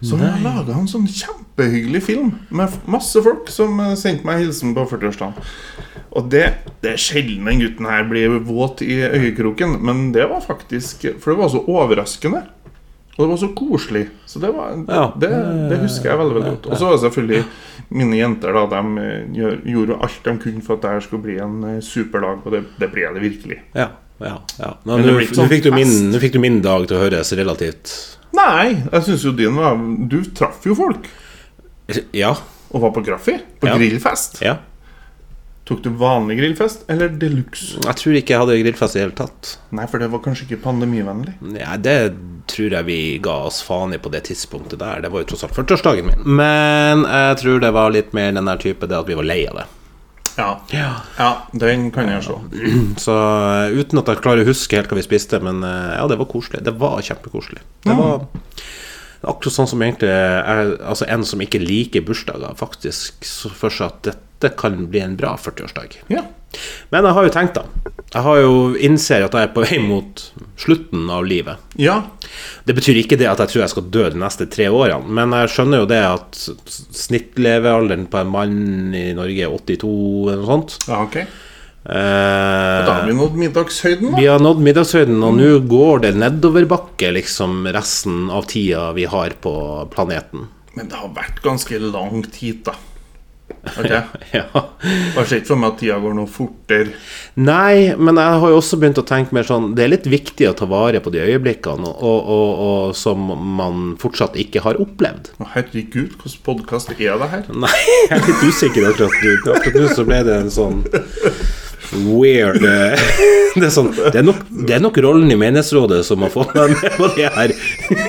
S2: Så jeg laga en sånn kjempehyggelig film med f- masse folk som eh, sendte meg hilsen på 40-årsdagen. Og det, det er sjelden den gutten her blir våt i øyekroken, men det var faktisk For det var så overraskende. Og det var så koselig. Så det, var, det,
S1: Ja.
S2: det, husker jeg veldig veldig godt. Og så var det selvfølgelig mine jenter. da De eh, gjør- gjorde alt de kunne for at det her skulle bli en eh, superdag, og det, det ble det virkelig.
S1: Ja, ja, ja. Nå,
S2: Men det
S1: nå,
S2: blir ikke
S1: nå
S2: sånn
S1: fikk du min,
S2: fest.
S1: nå fikk du min dag til å høres relativt
S2: Nei, jeg syns jo din var Du traff jo folk.
S1: Ja.
S2: Og var på Graffi. På
S1: Ja.
S2: grillfest.
S1: ja
S2: Tok du vanlig grillfest eller de luxe?
S1: Jeg tror ikke jeg hadde grillfest i det hele tatt.
S2: Nei, for det var kanskje ikke pandemivennlig.
S1: Nei, det tror jeg vi ga oss faen i på det tidspunktet der. Det var jo tross alt 40-årsdagen min. Men jeg tror det var litt mer den der type det at vi var lei av det.
S2: Ja. ja, den kan jeg se.
S1: Så eh, uten at jeg klarer å huske helt hva vi spiste, men eh, ja, det var koselig. Det var kjempekoselig. Det var akkurat sånn som egentlig er, Altså en som ikke liker bursdager, faktisk så for seg at dette kan bli en bra 40-årsdag.
S2: Ja.
S1: Men jeg har jo tenkt, da. Jeg har jo innser at jeg er på vei mot slutten av livet.
S2: ja.
S1: Det betyr ikke det at jeg tror jeg skal dø de neste tre årene, men jeg skjønner jo det at snittlevealderen på en mann i Norge er 82 eller noe sånt.
S2: Ja, ok.
S1: Eh,
S2: Da har vi nådd middagshøyden,
S1: vi
S2: da.
S1: har nådd middagshøyden, og nå går det nedoverbakke liksom resten av tida vi har på planeten. *laughs*
S2: Men det har vært ganske langt hit, da. Ok? Jeg
S1: Ja.
S2: ser ikke for meg at tida går noe fortere.
S1: Nei, men jeg har jo også begynt å tenke mer sånn Det er litt viktig å ta vare på de øyeblikkene og, og, og, som man fortsatt ikke har opplevd. *laughs*
S2: Å, Herregud, hvilken podkast er det her?
S1: Nei, jeg er litt usikker akkurat nå. Akkurat nå så ble det en sånn weird eh, *laughs* Det er, sånn, det er, nok, det er nok rollen i menighetsrådet som har fått meg med på det her.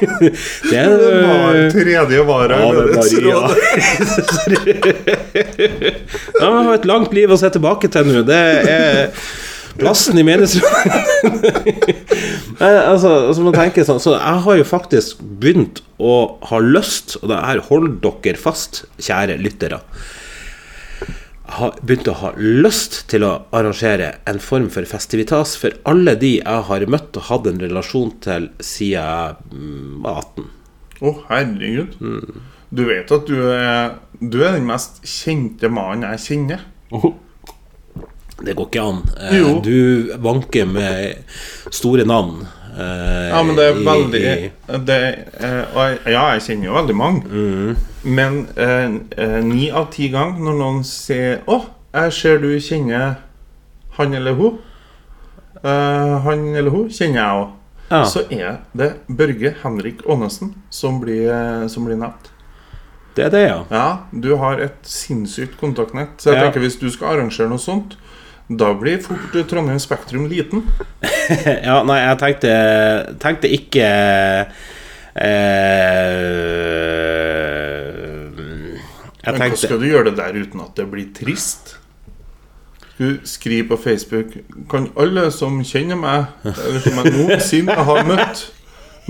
S1: *laughs* Det er,
S2: Det var tredje vara.
S1: Ja, det
S2: eller
S1: er
S2: et
S1: Maria.
S2: råd.
S1: Ja, men jeg har et langt liv å se tilbake til nå. Det er plassen i menighetsrådet. Nei, altså, altså, man tenker sånn, så jeg har jo faktisk begynt å ha lyst, og det her hold dere fast, kjære lyttere. Jeg har begynt å ha lyst til å arrangere en form for festivitas for alle de jeg har møtt og hatt en relasjon til siden jeg mm, var 18.
S2: Å, herregud. Du vet at du er, du er den mest kjente mannen jeg kjenner.
S1: Det går ikke an. Eh,
S2: Jo.
S1: Du vanker med store navn. eh,
S2: Ja, men det er
S1: i-
S2: veldig
S1: i-
S2: det, eh, og jeg, Ja, jeg kjenner jo veldig mange. Men eh, eh, ni av ti ganger når noen sier 'Å, jeg ser du kjenner han eller hun', eh, han eller hun kjenner jeg òg,
S1: Ja.
S2: så er det Børge Henrik Aanesen som blir, eh, som blir nevnt.
S1: Det er det, ja.
S2: Ja, du har et sinnssykt kontaktnett. Så jeg
S1: Ja.
S2: tenker hvis du skal arrangere noe sånt, da blir fort eh, Trondheim Spektrum liten.
S1: ja. Nei, jeg tenkte, tenkte ikke eh, Jeg
S2: Men hvordan
S1: tenkte
S2: skal du gjøre det der uten at det blir trist? skulle skrive på Facebook Kan alle som kjenner meg, eller som jeg noensinne har møtt,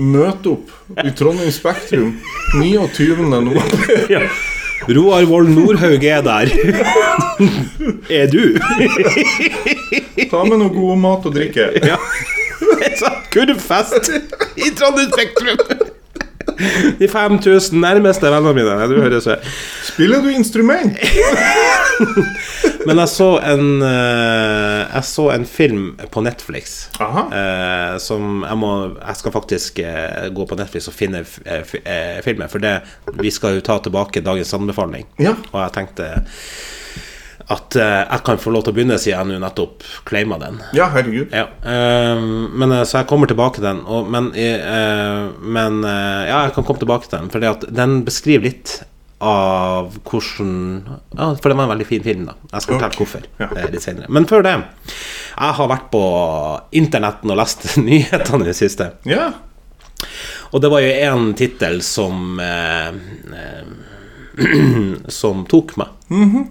S2: møte opp i Trondheim Spektrum 29. november?
S1: *laughs* Ja. Roar Wold Nordhaug er der. *laughs* er du? *laughs*
S2: Ta med noe god mat og drikke.
S1: ja. Så Kurvfest i Trondheim Spektrum. *laughs* De 5000 nærmeste vennene mine. Du høres her.
S2: Spiller du instrument?
S1: Men jeg så en eh, Jeg så en film på Netflix.
S2: Aha.
S1: Eh, som jeg må Jeg skal faktisk eh, gå på Netflix og finne f- eh, f- eh, filmen, for det vi skal jo ta tilbake dagens anbefaling.
S2: Ja.
S1: Og jeg tenkte at eh, jeg kan få lov til å begynne, siden jeg nå nettopp claima den.
S2: Ja, herregud.
S1: Ja, eh, men, eh, så jeg kommer tilbake til den. Og, men eh, men eh, ja, jeg kan komme tilbake til den, Fordi at den beskriver litt av hvordan ja, For det var en veldig fin film, da. Jeg skal fortelle
S2: Ok.
S1: hvorfor
S2: Ja.
S1: eh, litt senere. Men før det Jeg har vært på internetten og lest *laughs* nyhetene i det siste.
S2: Ja.
S1: Og det var jo én tittel som eh, eh, *clears throat* Som tok meg.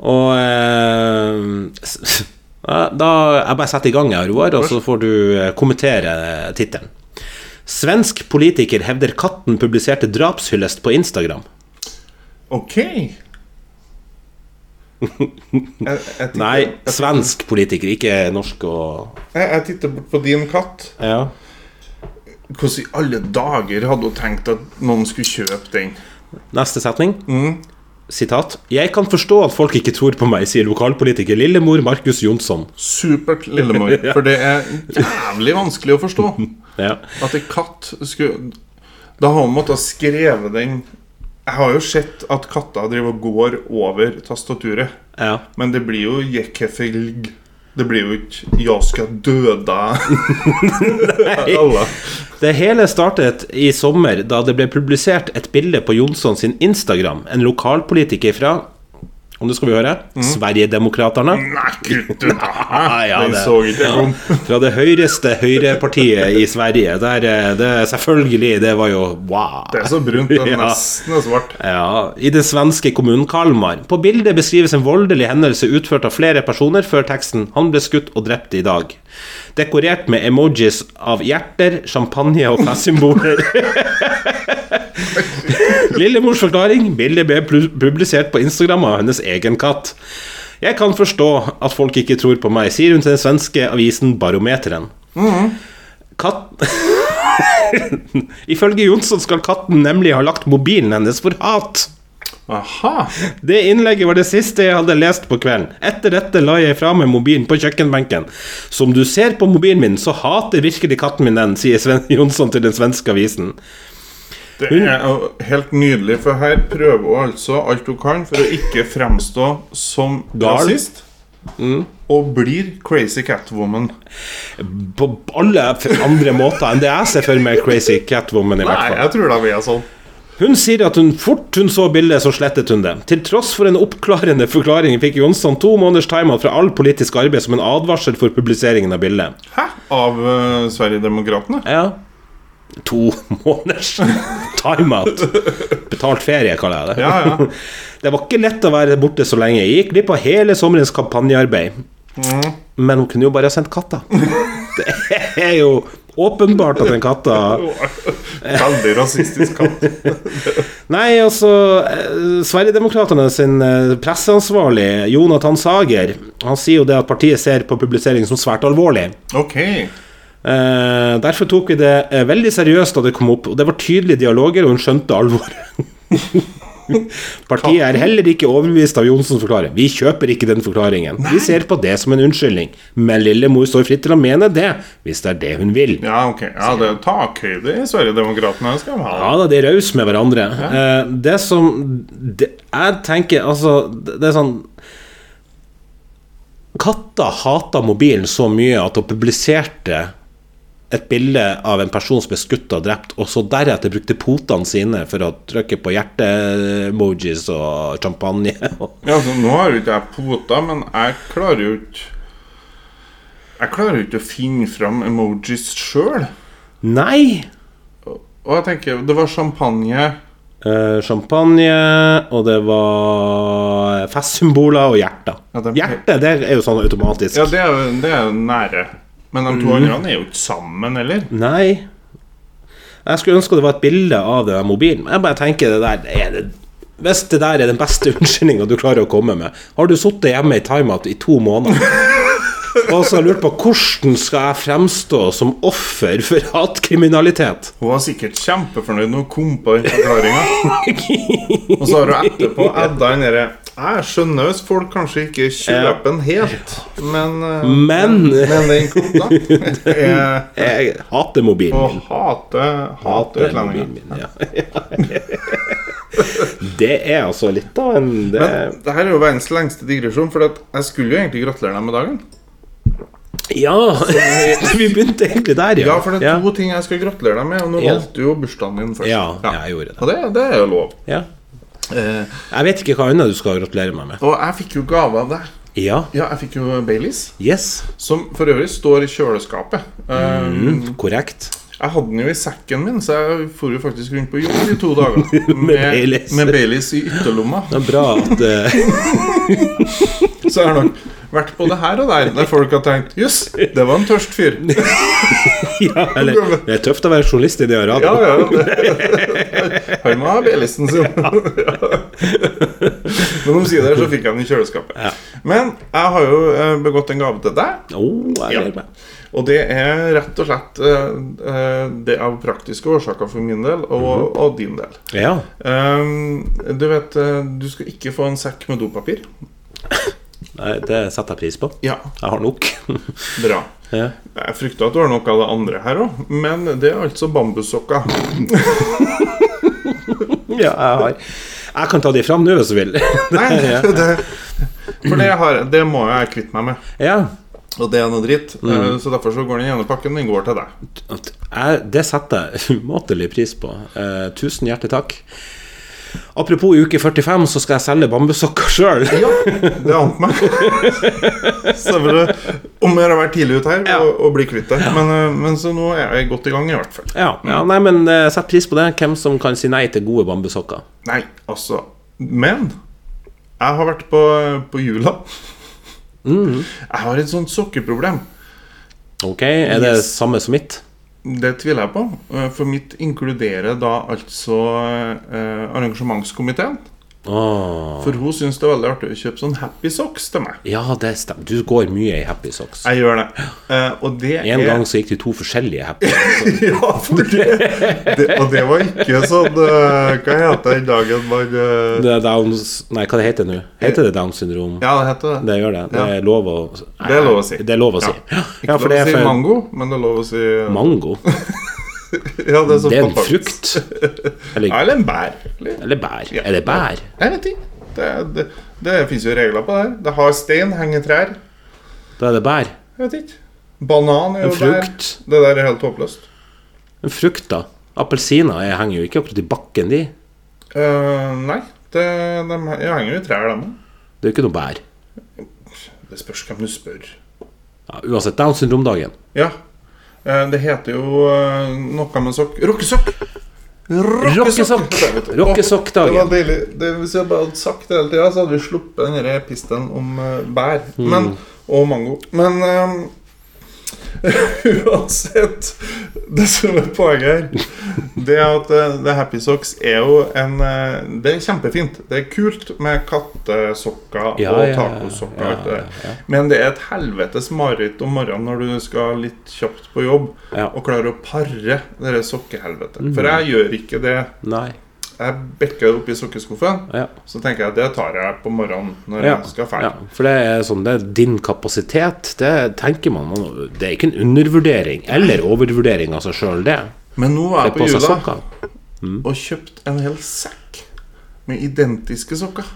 S1: Og eh, s- ja, Da Jeg bare setter i gang, jeg, Roar, og så får du eh, kommentere tittelen. Svensk politiker hevder katten publiserte drapshyllest på Instagram.
S2: Ok. Jeg, jeg titter-
S1: Nei, svensk politiker, ikke norsk og
S2: Jeg, jeg titter bort på din katt.
S1: Ja.
S2: Hvordan i alle dager hadde hun tenkt at noen skulle kjøpe den?
S1: Neste setning. Sitat. Jeg kan forstå at folk ikke tror på meg, sier lokalpolitiker Lillemor Markus Jonsson.
S2: Supert, Lillemor.
S1: *laughs* Ja.
S2: For det er jævlig vanskelig å forstå.
S1: *laughs* Ja.
S2: At en katt skulle Da har hun måttet skreve den Jeg har jo sett at katter driver og går over tastaturet.
S1: ja.
S2: Men det blir jo 'jekkefilg'. Det blir jo ikke 'jeg skal dø deg'.
S1: *laughs*
S2: Alle.
S1: Det hele startet i sommer da det ble publisert et bilde på Jonsson sin Instagram. En lokalpolitiker fra og nå skal vi høre
S2: Mhm.
S1: Sverigedemokraterna.
S2: Nei, kutt
S1: *laughs*
S2: ut, da!
S1: Ja, ja,
S2: Mm. den
S1: det-
S2: så ikke jeg kom.
S1: Fra det høyreste høyrepartiet i Sverige. Der, eh, det, selvfølgelig, det var jo wow.
S2: Det er så brunt. Det
S1: *laughs*
S2: er
S1: Ja.
S2: nesten er svart.
S1: Ja, I den svenske kommunen Kalmar. På bildet beskrives en voldelig hendelse utført av flere personer før teksten 'Han ble skutt og drept i dag'. Dekorert med emojis av hjerter, champagne og festsymboler. *laughs* Lillemors forklaring. Bildet ble plu- publisert på Instagram av hennes egen katt. Jeg kan forstå at folk ikke tror på meg, sier hun til den svenske avisen Barometeren. Katt... *laughs* Ifølge Jonsson skal katten nemlig ha lagt mobilen hennes for hat.
S2: Aha.
S1: Det innlegget var det siste jeg hadde lest på kvelden. Etter dette la jeg fra meg mobilen på kjøkkenbenken. Som du ser på mobilen min, så hater virkelig katten min den, sier Sven *laughs* Jonsson til den svenske avisen.
S2: Det er jo helt nydelig, for her prøver hun altså alt hun kan for å ikke fremstå som
S1: Gal. Mm.
S2: rasist. Og blir crazy catwoman.
S1: På alle andre måter enn det jeg ser for meg Crazy Catwoman, i
S2: Nei,
S1: hvert fall.
S2: jeg tror da vi er sånn.
S1: Hun sier at hun fort hun så bildet, så slettet hun det. Til tross for en oppklarende forklaring fikk Jonsson to måneders timeout fra all politisk arbeid som en advarsel for publiseringen av bildet.
S2: Hæ? Av uh, Sverigedemokraterna?
S1: Ja. To *laughs* måneders timeout. Betalt ferie, kaller jeg det.
S2: Ja, ja.
S1: *laughs* Det var ikke lett å være borte så lenge. Jeg gikk glipp av hele sommerens kampanjearbeid.
S2: Mm.
S1: Men hun kunne jo bare ha sendt katta. *laughs* Det er jo åpenbart at den katta
S2: *laughs* Veldig rasistisk katt.
S1: Nei, altså eh, Sverigedemokraterna sin eh, presseansvarlig, Jonathan Sager, han sier jo det at partiet ser på publisering som svært alvorlig.
S2: Ok.
S1: Eh, derfor tok vi det eh, veldig seriøst da det kom opp, og det var tydelige dialoger, og hun skjønte alvoret. *laughs* Partiet er heller ikke overbevist av Johnsens forklaring. Vi kjøper ikke den forklaringen. Vi ser på det som en unnskyldning. Men lillemor står fritt til å mene det, hvis det er det hun vil.
S2: Ja, ok. Ja, det er takhøyde i Sverigedemokraterna. det Skal vi ha.
S1: Ja da, de er rause med hverandre. Eh, det som det, Jeg tenker, altså Det det er sånn Katta hata mobilen så mye at hun publiserte et bilde av en person som ble skutt og drept, og så deretter brukte potene sine for å trykke på hjerte-emojis og champagne. *laughs*
S2: Ja, altså, nå har jo ikke jeg poter, men jeg klarer jo ikke Jeg klarer jo ikke å finne fram emojis sjøl.
S1: Nei!
S2: Og jeg tenker, det var champagne
S1: eh, champagne, og det var festsymboler og hjerter.
S2: Ja, det-
S1: Hjertet det er jo sånn automatisk.
S2: Ja, det er, jo, det er jo nære. Men de to andre er jo ikke sammen heller.
S1: Nei. Jeg skulle ønske det var et bilde av den der mobilen. Men jeg bare tenker det der er det, Hvis det der er den beste *laughs* unnskyldninga du klarer å komme med Har du sittet hjemme i timeout i to
S2: *laughs*
S1: måneder og så har lurt på hvordan skal jeg fremstå som offer for hatkriminalitet?
S2: Hun var sikkert kjempefornøyd når hun kom på den forklaringa. Og så har hun etterpå adda den derre Jeg skjønner hvis folk kanskje ikke kjøper den helt, men eh,
S1: Mm. Men-
S2: Men den kvota er
S1: Jeg hater
S2: å
S1: mobilen min.
S2: hate hate
S1: Hater mobilen
S2: utlendinger.
S1: min, ja. *laughs* Det er altså litt av en det,
S2: Men Eh, det her er jo verdens lengste digresjon, for at jeg skulle jo egentlig gratulere deg med dagen.
S1: Ja! *laughs* Vi begynte egentlig der,
S2: Ja, for det er to ting jeg skal gratulere deg med, og nå
S1: Ja.
S2: valgte du jo bursdagen din først.
S1: Ja, jeg gjorde det.
S2: Og det, det er jo lov.
S1: Ja.
S2: Eh,
S1: Jeg vet ikke hva annet du skal gratulere meg med.
S2: og jeg fikk jo gave av deg.
S1: Ja.
S2: Ja, jeg fikk jo Baileys.
S1: Yes.
S2: Som for øvrig står i kjøleskapet.
S1: Mm.
S2: Um,
S1: Korrekt.
S2: Jeg hadde den jo i sekken min, så jeg for jo faktisk rundt på jobb i to
S1: *laughs*
S2: dager.
S1: Baileys.
S2: med Baileys i ytterlomma.
S1: Det er bra at eh,
S2: *laughs*
S1: *laughs*
S2: Så jeg har nok vært både her og der der folk har tenkt Jøss, det var en tørst fyr.
S1: ja, eller, Det er tøft å være journalist i det radioen.
S2: Ja, ja, det- Han må ha Baileysen sin.
S1: *laughs*
S2: Ja. Men omsider så fikk jeg den i kjøleskapet. Men jeg har jo eh, begått en gave til deg.
S1: Oh, jeg
S2: Ja.
S1: gleder meg.
S2: Og det er rett og slett eh, eh, det av praktiske årsaker for min del, og,
S1: Mhm.
S2: og din del.
S1: Ja.
S2: Ehm, du vet, eh, du skal ikke få en sekk med dopapir.
S1: Nei, det setter jeg pris på.
S2: Ja,
S1: Jeg har nok. *laughs*
S2: bra.
S1: ja.
S2: Jeg frykter at du har noe av det andre her òg, men det er altså
S1: *laughs*
S2: bambussokker.
S1: ja, jeg har Jeg kan ta de fram nå hvis du vil. *laughs*
S2: Nei,
S1: Ja.
S2: det, for det, har, det må jo jeg kvitte meg med,
S1: ja.
S2: og det er noe dritt.
S1: Mm.
S2: Eh, Så derfor så går den ene pakken, den går til deg.
S1: At Jeg, det setter jeg umåtelig pris på. Eh, tusen hjertelig takk. Apropos uke 45, så skal jeg selge bambussokker sjøl.
S2: Ja, det ante meg. *laughs* Så det er vel om å gjøre å være tidlig ute her og, og bli kvitt det. Men, eh, men så nå er jeg godt i gang, i hvert fall.
S1: *laughs* Ja, ja, nei, men eh, sett pris på det. Hvem som kan si nei til gode bambussokker.
S2: Nei, altså Men jeg har vært på, på jula.
S1: Mm.
S2: Jeg har et sånt sokkeproblem.
S1: Ok, Er det
S2: Yes.
S1: samme som mitt?
S2: Det tviler jeg på. eh, For mitt inkluderer da altså eh, arrangementskomiteen.
S1: Åh
S2: For hun syns det er veldig artig å kjøpe sånn Happy Socks til meg.
S1: Ja, det stemmer. Du går mye i happy socks.
S2: Jeg gjør det. Eh, og det
S1: En
S2: er
S1: gang så gikk det to forskjellige happy socks.
S2: *laughs* Ja, for det, det Og det var ikke sånn eh, Hva heter den dagen man eh,
S1: Det er Downs Nei, hva det heter det nå? Heter det Downs syndrom?
S2: Ja, det heter det.
S1: Det gjør det. Det
S2: Ja.
S1: er lov å
S2: Det er lov å si.
S1: Det er lov å si. Ja,
S2: Ikke
S1: for det
S2: lov å
S1: er
S2: si
S1: for
S2: mango, Altså, men det er lov å si eh, *laughs*
S1: mango.
S2: Ja, det er, så
S1: Det er en
S2: kompakt.
S1: frukt.
S2: Ja,
S1: Eller,
S2: eller en bær. Eller
S1: eller bær. Er det bær?
S2: Jeg vet ikke. Det, det, det fins jo regler på det. her. Det har stein, henger trær.
S1: Da er det bær.
S2: Jeg vet ikke. Banan
S1: En
S2: er jo der.
S1: frukt.
S2: Det der er helt håpløst.
S1: En frukt, da. Appelsiner jeg henger jo ikke akkurat i bakken, de.
S2: Eh, nei, det, de, he- ja, henger jo i trær, de.
S1: Det er jo ikke noe bær.
S2: Det spørs hvem du spør.
S1: Ja, uansett, Downs syndrom-dagen.
S2: Ja. Eh, det heter jo eh, noe med sokk Rockesokk!
S1: Rockesokk!
S2: Det var
S1: Rockesokkdagen.
S2: deilig. Det, hvis jeg bare hadde sagt det hele tida, så hadde vi sluppet den der pisten om eh, bær
S1: Mm.
S2: men, og mango. Men eh, *laughs* uansett Det som er poenget her, det er at eh, The Happy Socks er jo en eh, Det er kjempefint. Det er kult med kattesokker
S1: Ja,
S2: og
S1: ja, ja. Ja,
S2: tacosokker. og alt det der.
S1: ja, ja.
S2: Men det er et helvetes mareritt om morgenen når du skal litt kjapt på jobb,
S1: Ja. Mm.
S2: og klarer å pare det der sokkehelvetet. For jeg gjør ikke det.
S1: Nei.
S2: Jeg bekker opp i sokkeskuffen,
S1: Ja.
S2: så tenker jeg at det tar jeg på morgenen når
S1: Ja,
S2: jeg skal
S1: ja,
S2: ferdig.
S1: for det er sånn Det er din kapasitet. Det tenker man, man Det er ikke en undervurdering eller overvurdering av seg sjøl, det.
S2: Men nå
S1: Det
S2: var
S1: er
S2: jeg på
S1: på seg
S2: jula
S1: sokker.
S2: og kjøpte en hel sekk med identiske sokker.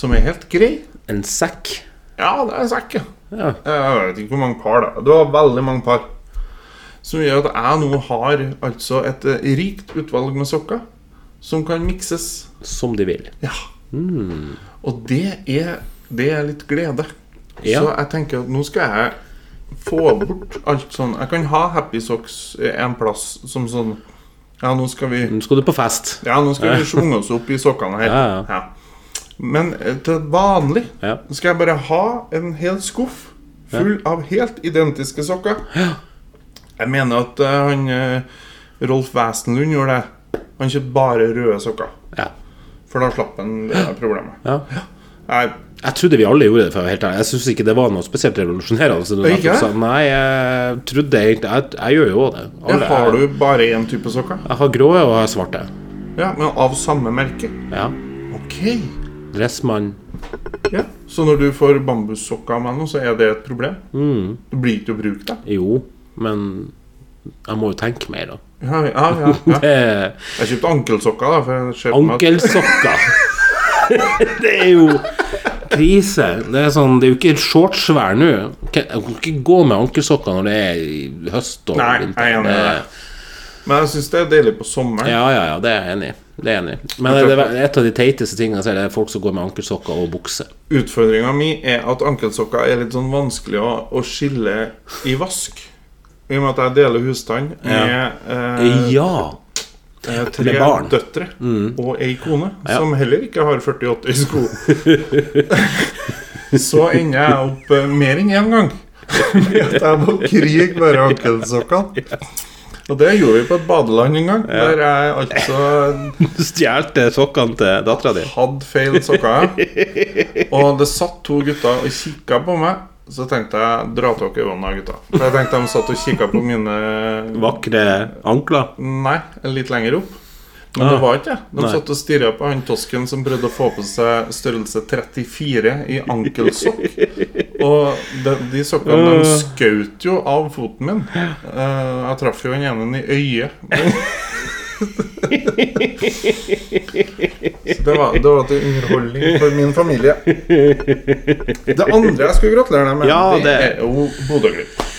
S2: Som er helt grei.
S1: En sekk.
S2: Ja, det er en sekk, ja.
S1: Ja.
S2: Jeg vet ikke hvor mange par, da. Det var veldig mange par. Som gjør at jeg nå har altså et eh, rikt utvalg med sokker som kan mikses.
S1: Som de vil.
S2: Ja.
S1: Hmm.
S2: Og det er, det er litt glede.
S1: Ja.
S2: Så jeg tenker at nå skal jeg få bort alt sånn Jeg kan ha Happy Socks en plass som sånn Ja, nå skal vi
S1: Nå skal du på fest.
S2: Ja, nå skal vi sjunge oss opp i sokkene her.
S1: Ja, ja.
S2: Men eh, til vanlig
S1: Ja.
S2: skal jeg bare ha en hel skuff full av helt identiske sokker. Jeg mener at eh, han eh, Rolf Wesenlund gjorde det. Han kjøpte bare røde sokker.
S1: Ja.
S2: For da slapp han det der problemet.
S1: ja.
S2: Nei,
S1: Jeg trodde vi alle gjorde det. for å være helt ærlig Jeg syns ikke det var noe spesielt revolusjonerende. så du
S2: Ikke?
S1: nettopp sa, Nei, jeg trodde egentlig Jeg, jeg gjør jo også det. Alle-
S2: har du bare én type sokker?
S1: Jeg har grå og jeg har svarte.
S2: Ja, men av samme merke.
S1: Ja.
S2: Ok.
S1: Dressmann.
S2: Ja. Så når du får bambussokker av meg nå, så er det et problem?
S1: Mm.
S2: Du blir ikke å bruke det?
S1: Jo, men jeg må jo tenke mer, da.
S2: Ja, ja, ja, ja.
S1: Eh,
S2: Jeg kjøpte ankelsokker, da. For jeg ser på meg at-
S1: Ankelsokker. *laughs* det er jo krise. Det er sånn, det er jo ikke shortsvær nå. Du kan jeg kan ikke gå med ankelsokker når det er i høst og
S2: Nei, jeg er enig i det. Men jeg syns det er deilig på sommeren.
S1: Ja, ja, ja, det er jeg enig i. Det er jeg enig. i. Men det, det, er et av de teiteste tingene jeg ser, det er folk som går med ankelsokker og bukse.
S2: Utfordringa mi er at ankelsokker er litt sånn vanskelig å, å skille i vask. I og med at jeg deler husstand med eh,
S1: Ja! *laughs*
S2: eh, tre
S1: med barn. Mm.
S2: døtre og ei kone, som heller ikke har 48 i
S1: *laughs*
S2: sko. Så ender jeg opp eh, mer enn én
S1: *laughs*
S2: gang med at jeg må krige med de ankelsokkene. Og det gjorde vi på et badeland en gang, der jeg altså
S1: Du stjal sokkene til dattera di.
S2: Hadde feil sokker. ja. Og det satt to gutter og kikka på meg. Så tenkte jeg dra til dere vannet, gutta. For jeg tenkte de satt og kikka på mine
S1: Vakre ankler.
S2: Nei, litt lenger opp. Men det var ikke det. De
S1: Ah. Nei.
S2: satt og stirra på han tosken som prøvde å få på seg størrelse 34 i ankelsokk. Og de, de sokkene
S1: Ah.
S2: de skjøt jo av foten min. Eh, jeg traff jo den ene i øyet. Så det var, det var til underholdning for min familie. Det andre jeg skulle gratulere deg med,
S1: Ja,
S2: det
S1: det-
S2: er jo Bodø-Glimt.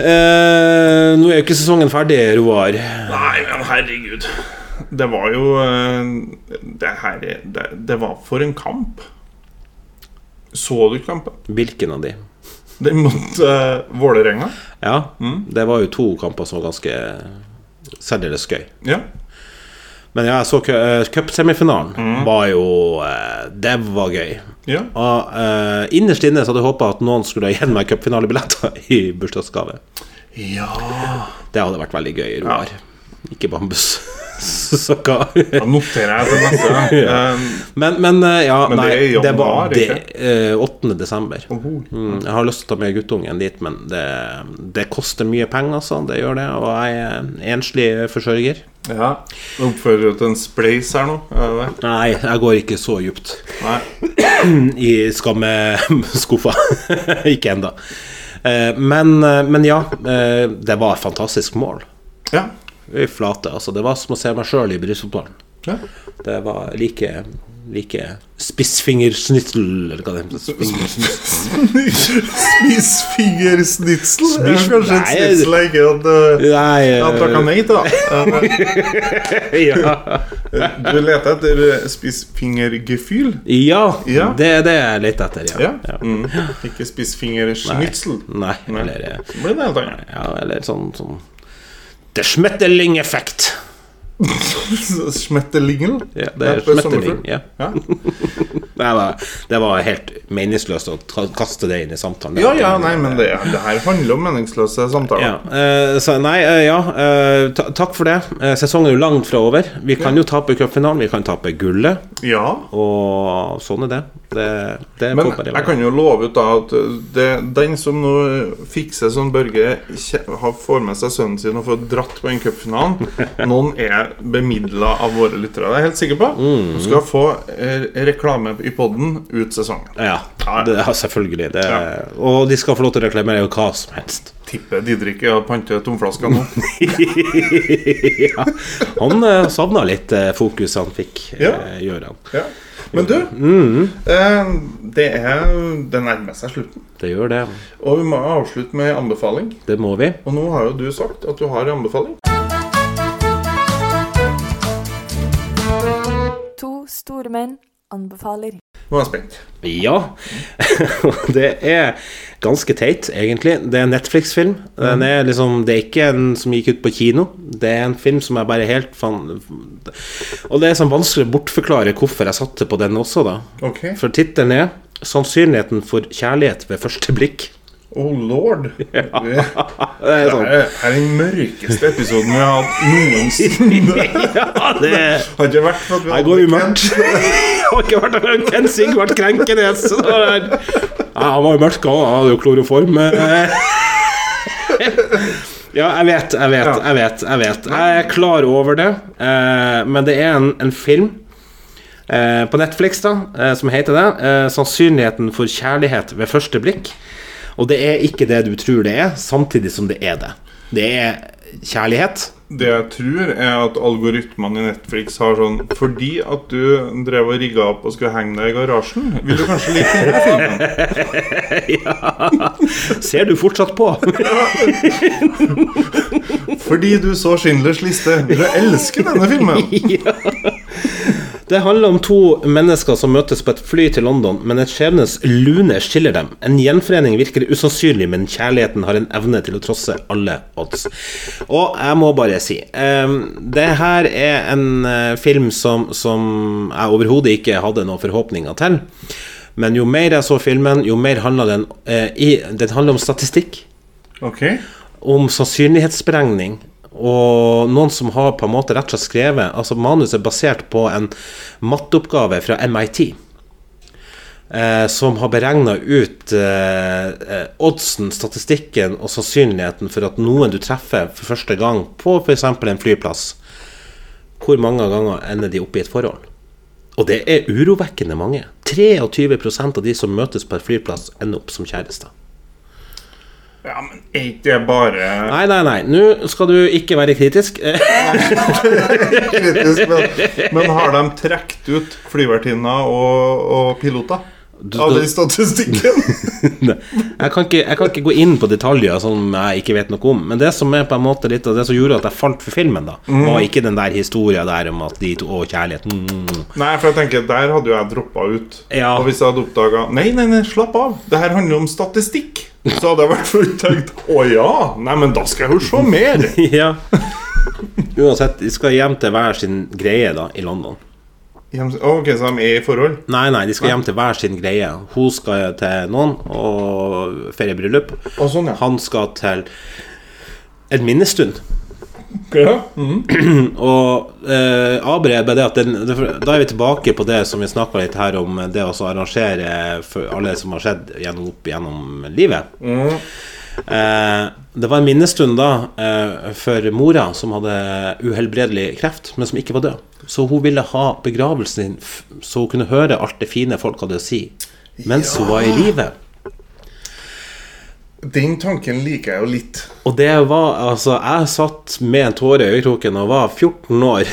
S1: Eh, nå er jo ikke sesongen ferdig, Roar.
S2: Nei, men herregud. Det var jo eh, Det her er- det, det var for en kamp. Så du kampen?
S1: Hvilken av de?
S2: Den mot eh, Vålerenga?
S1: Ja, det var jo to kamper som var ganske særdeles gøy.
S2: Ja.
S1: Men ja, jeg så cu- eh, cupsemifinalen.
S2: Mhm.
S1: Var jo eh, Det var gøy.
S2: ja.
S1: Og eh, innerst inne så hadde jeg håpa at noen skulle ha gitt meg cupfinalebilletter i bursdagsgave.
S2: Ja
S1: Det hadde vært veldig gøy, Roar. Ikke bambus. *laughs* Så hva-
S2: Da noterer jeg til neste *laughs* gang.
S1: men, men eh, ja,
S2: Men det
S1: nei,
S2: er i
S1: det var
S2: januar,
S1: det,
S2: ikke?
S1: eh, 8. desember.
S2: Oho.
S1: Mm, jeg har lyst til å ta med guttungen dit, men det, det koster mye penger, altså. Det gjør det. Og jeg er en enslig forsørger.
S2: Eh, ja. Nå Oppfører du til en spleis her nå? Er det det?
S1: Nei, jeg går ikke så djupt
S2: Nei.
S1: i skammeskuffa. *laughs* ikke ennå. Men, eh, men ja, eh, det var et fantastisk mål.
S2: Ja.
S1: I flate, altså. Det var som å se meg sjøl i brystfotballen.
S2: ja.
S1: Det var like Like spissfingersnittel, eller hva det heter.
S2: Spissfingersnitsel? Det er kanskje et
S1: Nei.
S2: snitsel jeg ikke hadde
S1: Nei eh,
S2: hadde takka nei
S1: *laughs*
S2: til, da. Eh,
S1: ja.
S2: Du leter etter eh, spissfingergefühl?
S1: ja,
S2: Ja.
S1: det er det jeg leter etter, ja.
S2: Ja.
S1: *laughs*
S2: Mm. Ikke spissfingerschnitzel.
S1: Nei,
S2: Nei.
S1: eller eh,
S2: Det blir det helt *laughs* annet.
S1: Ja, eller sånn, sånn Det er smetteling-effekt.
S2: Schmetterlingel.
S1: Ja, det er
S2: på
S1: smetteling.
S2: sommerfugl.
S1: Ja.
S2: Ja.
S1: Nei, nei, det var helt meningsløst å ka- kaste det inn i samtalen.
S2: ja, ja, nei, men det, det her handler om meningsløse
S1: Ja,
S2: samtaler.
S1: eh, så nei, eh, ja. eh, ta- takk for det. Eh, sesongen er jo langt fra over. Vi kan jo tape cupfinalen, vi kan tape gullet,
S2: Ja.
S1: og sånn er det. Det, det
S2: Men
S1: får bare
S2: jeg
S1: være.
S2: kan jo love ut da at det, den som nå fikser sånn Børge kje- har- får med seg sønnen sin og får dratt på en
S1: *laughs*
S2: cupfinalen Noen er bemidla av våre lyttere, det er jeg helt sikker på.
S1: Mm.
S2: Du skal få eh, reklame i podden ut sesongen.
S1: Ja,
S2: Ja.
S1: det, ja selvfølgelig. Det,
S2: Ja.
S1: Og de skal få lov til å reklamere hva som helst. *laughs*
S2: Tipper Didrik er og panter tomflasker nå.
S1: ja. Han eh, savna litt eh, fokus han fikk, eh,
S2: Ja.
S1: gjør han.
S2: Ja. Men du,
S1: Mm.
S2: eh, det, er, det nærmer seg slutten.
S1: Det gjør det.
S2: Og vi må avslutte med en anbefaling.
S1: Det må vi.
S2: Og nå har jo du sagt at du har en anbefaling.
S3: To store menn anbefaler.
S2: Nå er jeg spent.
S1: Ja. *laughs* det er ganske teit, egentlig. Det er en Netflix-film. Den er liksom, det er ikke en som gikk ut på kino. Det er en film som jeg bare helt fan... Og det er sånn vanskelig å bortforklare hvorfor jeg satte på den også, da.
S2: Ok.
S1: For tittelen er 'Sannsynligheten for kjærlighet ved første blikk'.
S2: Oh lord.
S1: *laughs*
S2: Det
S1: Det er sånn.
S2: er, er den mørkeste episoden vi har hatt noensinne.
S1: *laughs* Ja, det er
S2: Har ikke vært for at vi
S1: Jeg går umørkt. *laughs* Jeg har ikke vært der Kent Singh ble krenkende. så det var der. Ja, han var jo mørk, han han hadde jo kloroform. eh. *laughs* Ja, jeg vet, jeg vet, jeg vet. Jeg vet Jeg er klar over det, eh, men det er en, en film eh, på Netflix da eh, som heter det. eh, 'Sannsynligheten for kjærlighet ved første blikk'. Og det er ikke det du tror det er, samtidig som det er det. Det er kjærlighet.
S2: Det jeg tror, er at algoritmene i Netflix har sånn Fordi at du drev og rigga opp og skulle henge deg i garasjen, vil du kanskje like denne filmen?
S1: Ser du fortsatt på?
S2: Fordi du så Schindlers liste, vil du elske denne filmen?
S1: Det handler om to mennesker som møtes på et fly til London, men et skjebnes lune skiller dem. En gjenforening virker usannsynlig, men kjærligheten har en evne til å trosse alle odds. Og jeg må bare si um, Det her er en eh, film som, som jeg overhodet ikke hadde noen forhåpninger til. Men jo mer jeg så filmen, jo mer handla den eh, i Den handler om statistikk
S2: Ok.
S1: om sannsynlighetsberegning. Og noen som har på en måte rett og slett skrevet Altså Manuset er basert på en matteoppgave fra MIT. Eh, som har beregna ut eh, eh, oddsen, statistikken og sannsynligheten for at noen du treffer for første gang på f.eks. en flyplass, hvor mange ganger ender de opp i et forhold? Og det er urovekkende mange. 23 av de som møtes på en flyplass, ender opp som kjærester.
S2: Ja, men er ikke det bare
S1: Nei, nei, nei. Nå skal du ikke være kritisk. *laughs*
S2: kritisk? Men, men har de trukket ut flyvertinna og, og piloter? Av den statistikken?
S1: Nei. *laughs* Jeg kan, ikke, jeg kan ikke gå inn på detaljer som jeg ikke vet noe om, men det som er på en måte litt av det som gjorde at jeg falt for filmen, da, var ikke den der historien der om at de to Å, kjærlighet mm, mm, mm.
S2: *laughs* Nei, for jeg tenker, der hadde jo jeg droppa ut.
S1: Ja.
S2: Og hvis jeg hadde oppdaga Nei, nei, nei, slapp av, det her handler om statistikk. Så hadde jeg i hvert fall tenkt Å ja, nei, men da skal jeg jo se mer.
S1: Ja. *laughs* Uansett, de skal hjem til hver sin greie da, i London.
S2: Hjem- Å, Ok, så de er i forhold?
S1: Nei, nei, de skal hjem til hver sin greie. Hun skal til noen og feriebryllup.
S2: Å, sånn, ja.
S1: Han skal til en minnestund.
S2: ja. Mm.
S1: Og eh, avbrev med det at den, det- Da er vi tilbake på det som vi snakka litt her om, det å så arrangere for alle som har skjedd gjennom, opp gjennom livet. Eh, det var en minnestund da eh, for mora som hadde uhelbredelig kreft, men som ikke var død. Så hun ville ha begravelsen sin f så hun kunne høre alt det fine folk hadde å si mens hun var i live.
S2: Den tanken liker jeg jo litt.
S1: Og det var altså Jeg satt med en tåre i øyekroken og var 14 år.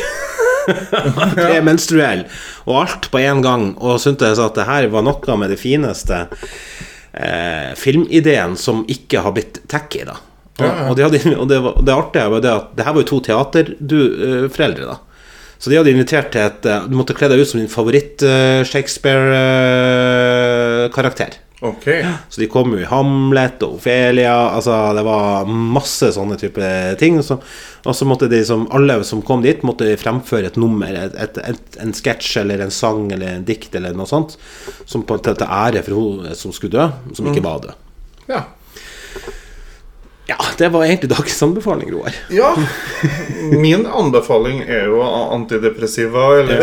S1: Premenstruell. Og alt på én gang. Og syntes at det her var noe med det fineste eh, filmideen som ikke har blitt tacky, da. Og, og, de hadde, og det, var, det artige var det at det her var jo to teaterforeldre, da. Så de hadde invitert til et eh, Du måtte kle deg ut som din eh, favoritt-Shakespeare-karakter.
S2: Ok.
S1: Så de kom jo i Hamlet og Ofelia Altså det var masse sånne type ting så, Og så måtte de som Alle som kom dit måtte fremføre et nummer et, et, et, En sketsj eller en sang Eller en dikt eller noe sånt Som på en måte til ære for hun som skulle dø Som ikke var død
S2: Ja.
S1: Ja, det var egentlig dagens anbefaling, Roar
S2: ja. Min anbefaling er jo antidepressiva eller,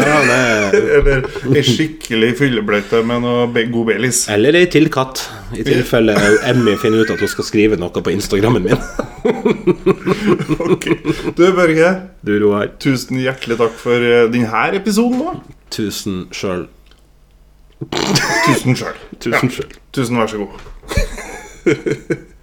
S2: eller ei skikkelig fyllebløyte med noe be- god Baileys.
S1: Eller ei til katt I tilfelle Emmy finner ut at hun skal skrive noe på Instagrammen min
S2: Ok. Du, Børge,
S1: Du, Roar
S2: tusen hjertelig takk for eh, denne episoden. da
S1: Tusen selv
S2: Tusen sjøl.
S1: Tusen selv
S2: Tusen vær så god.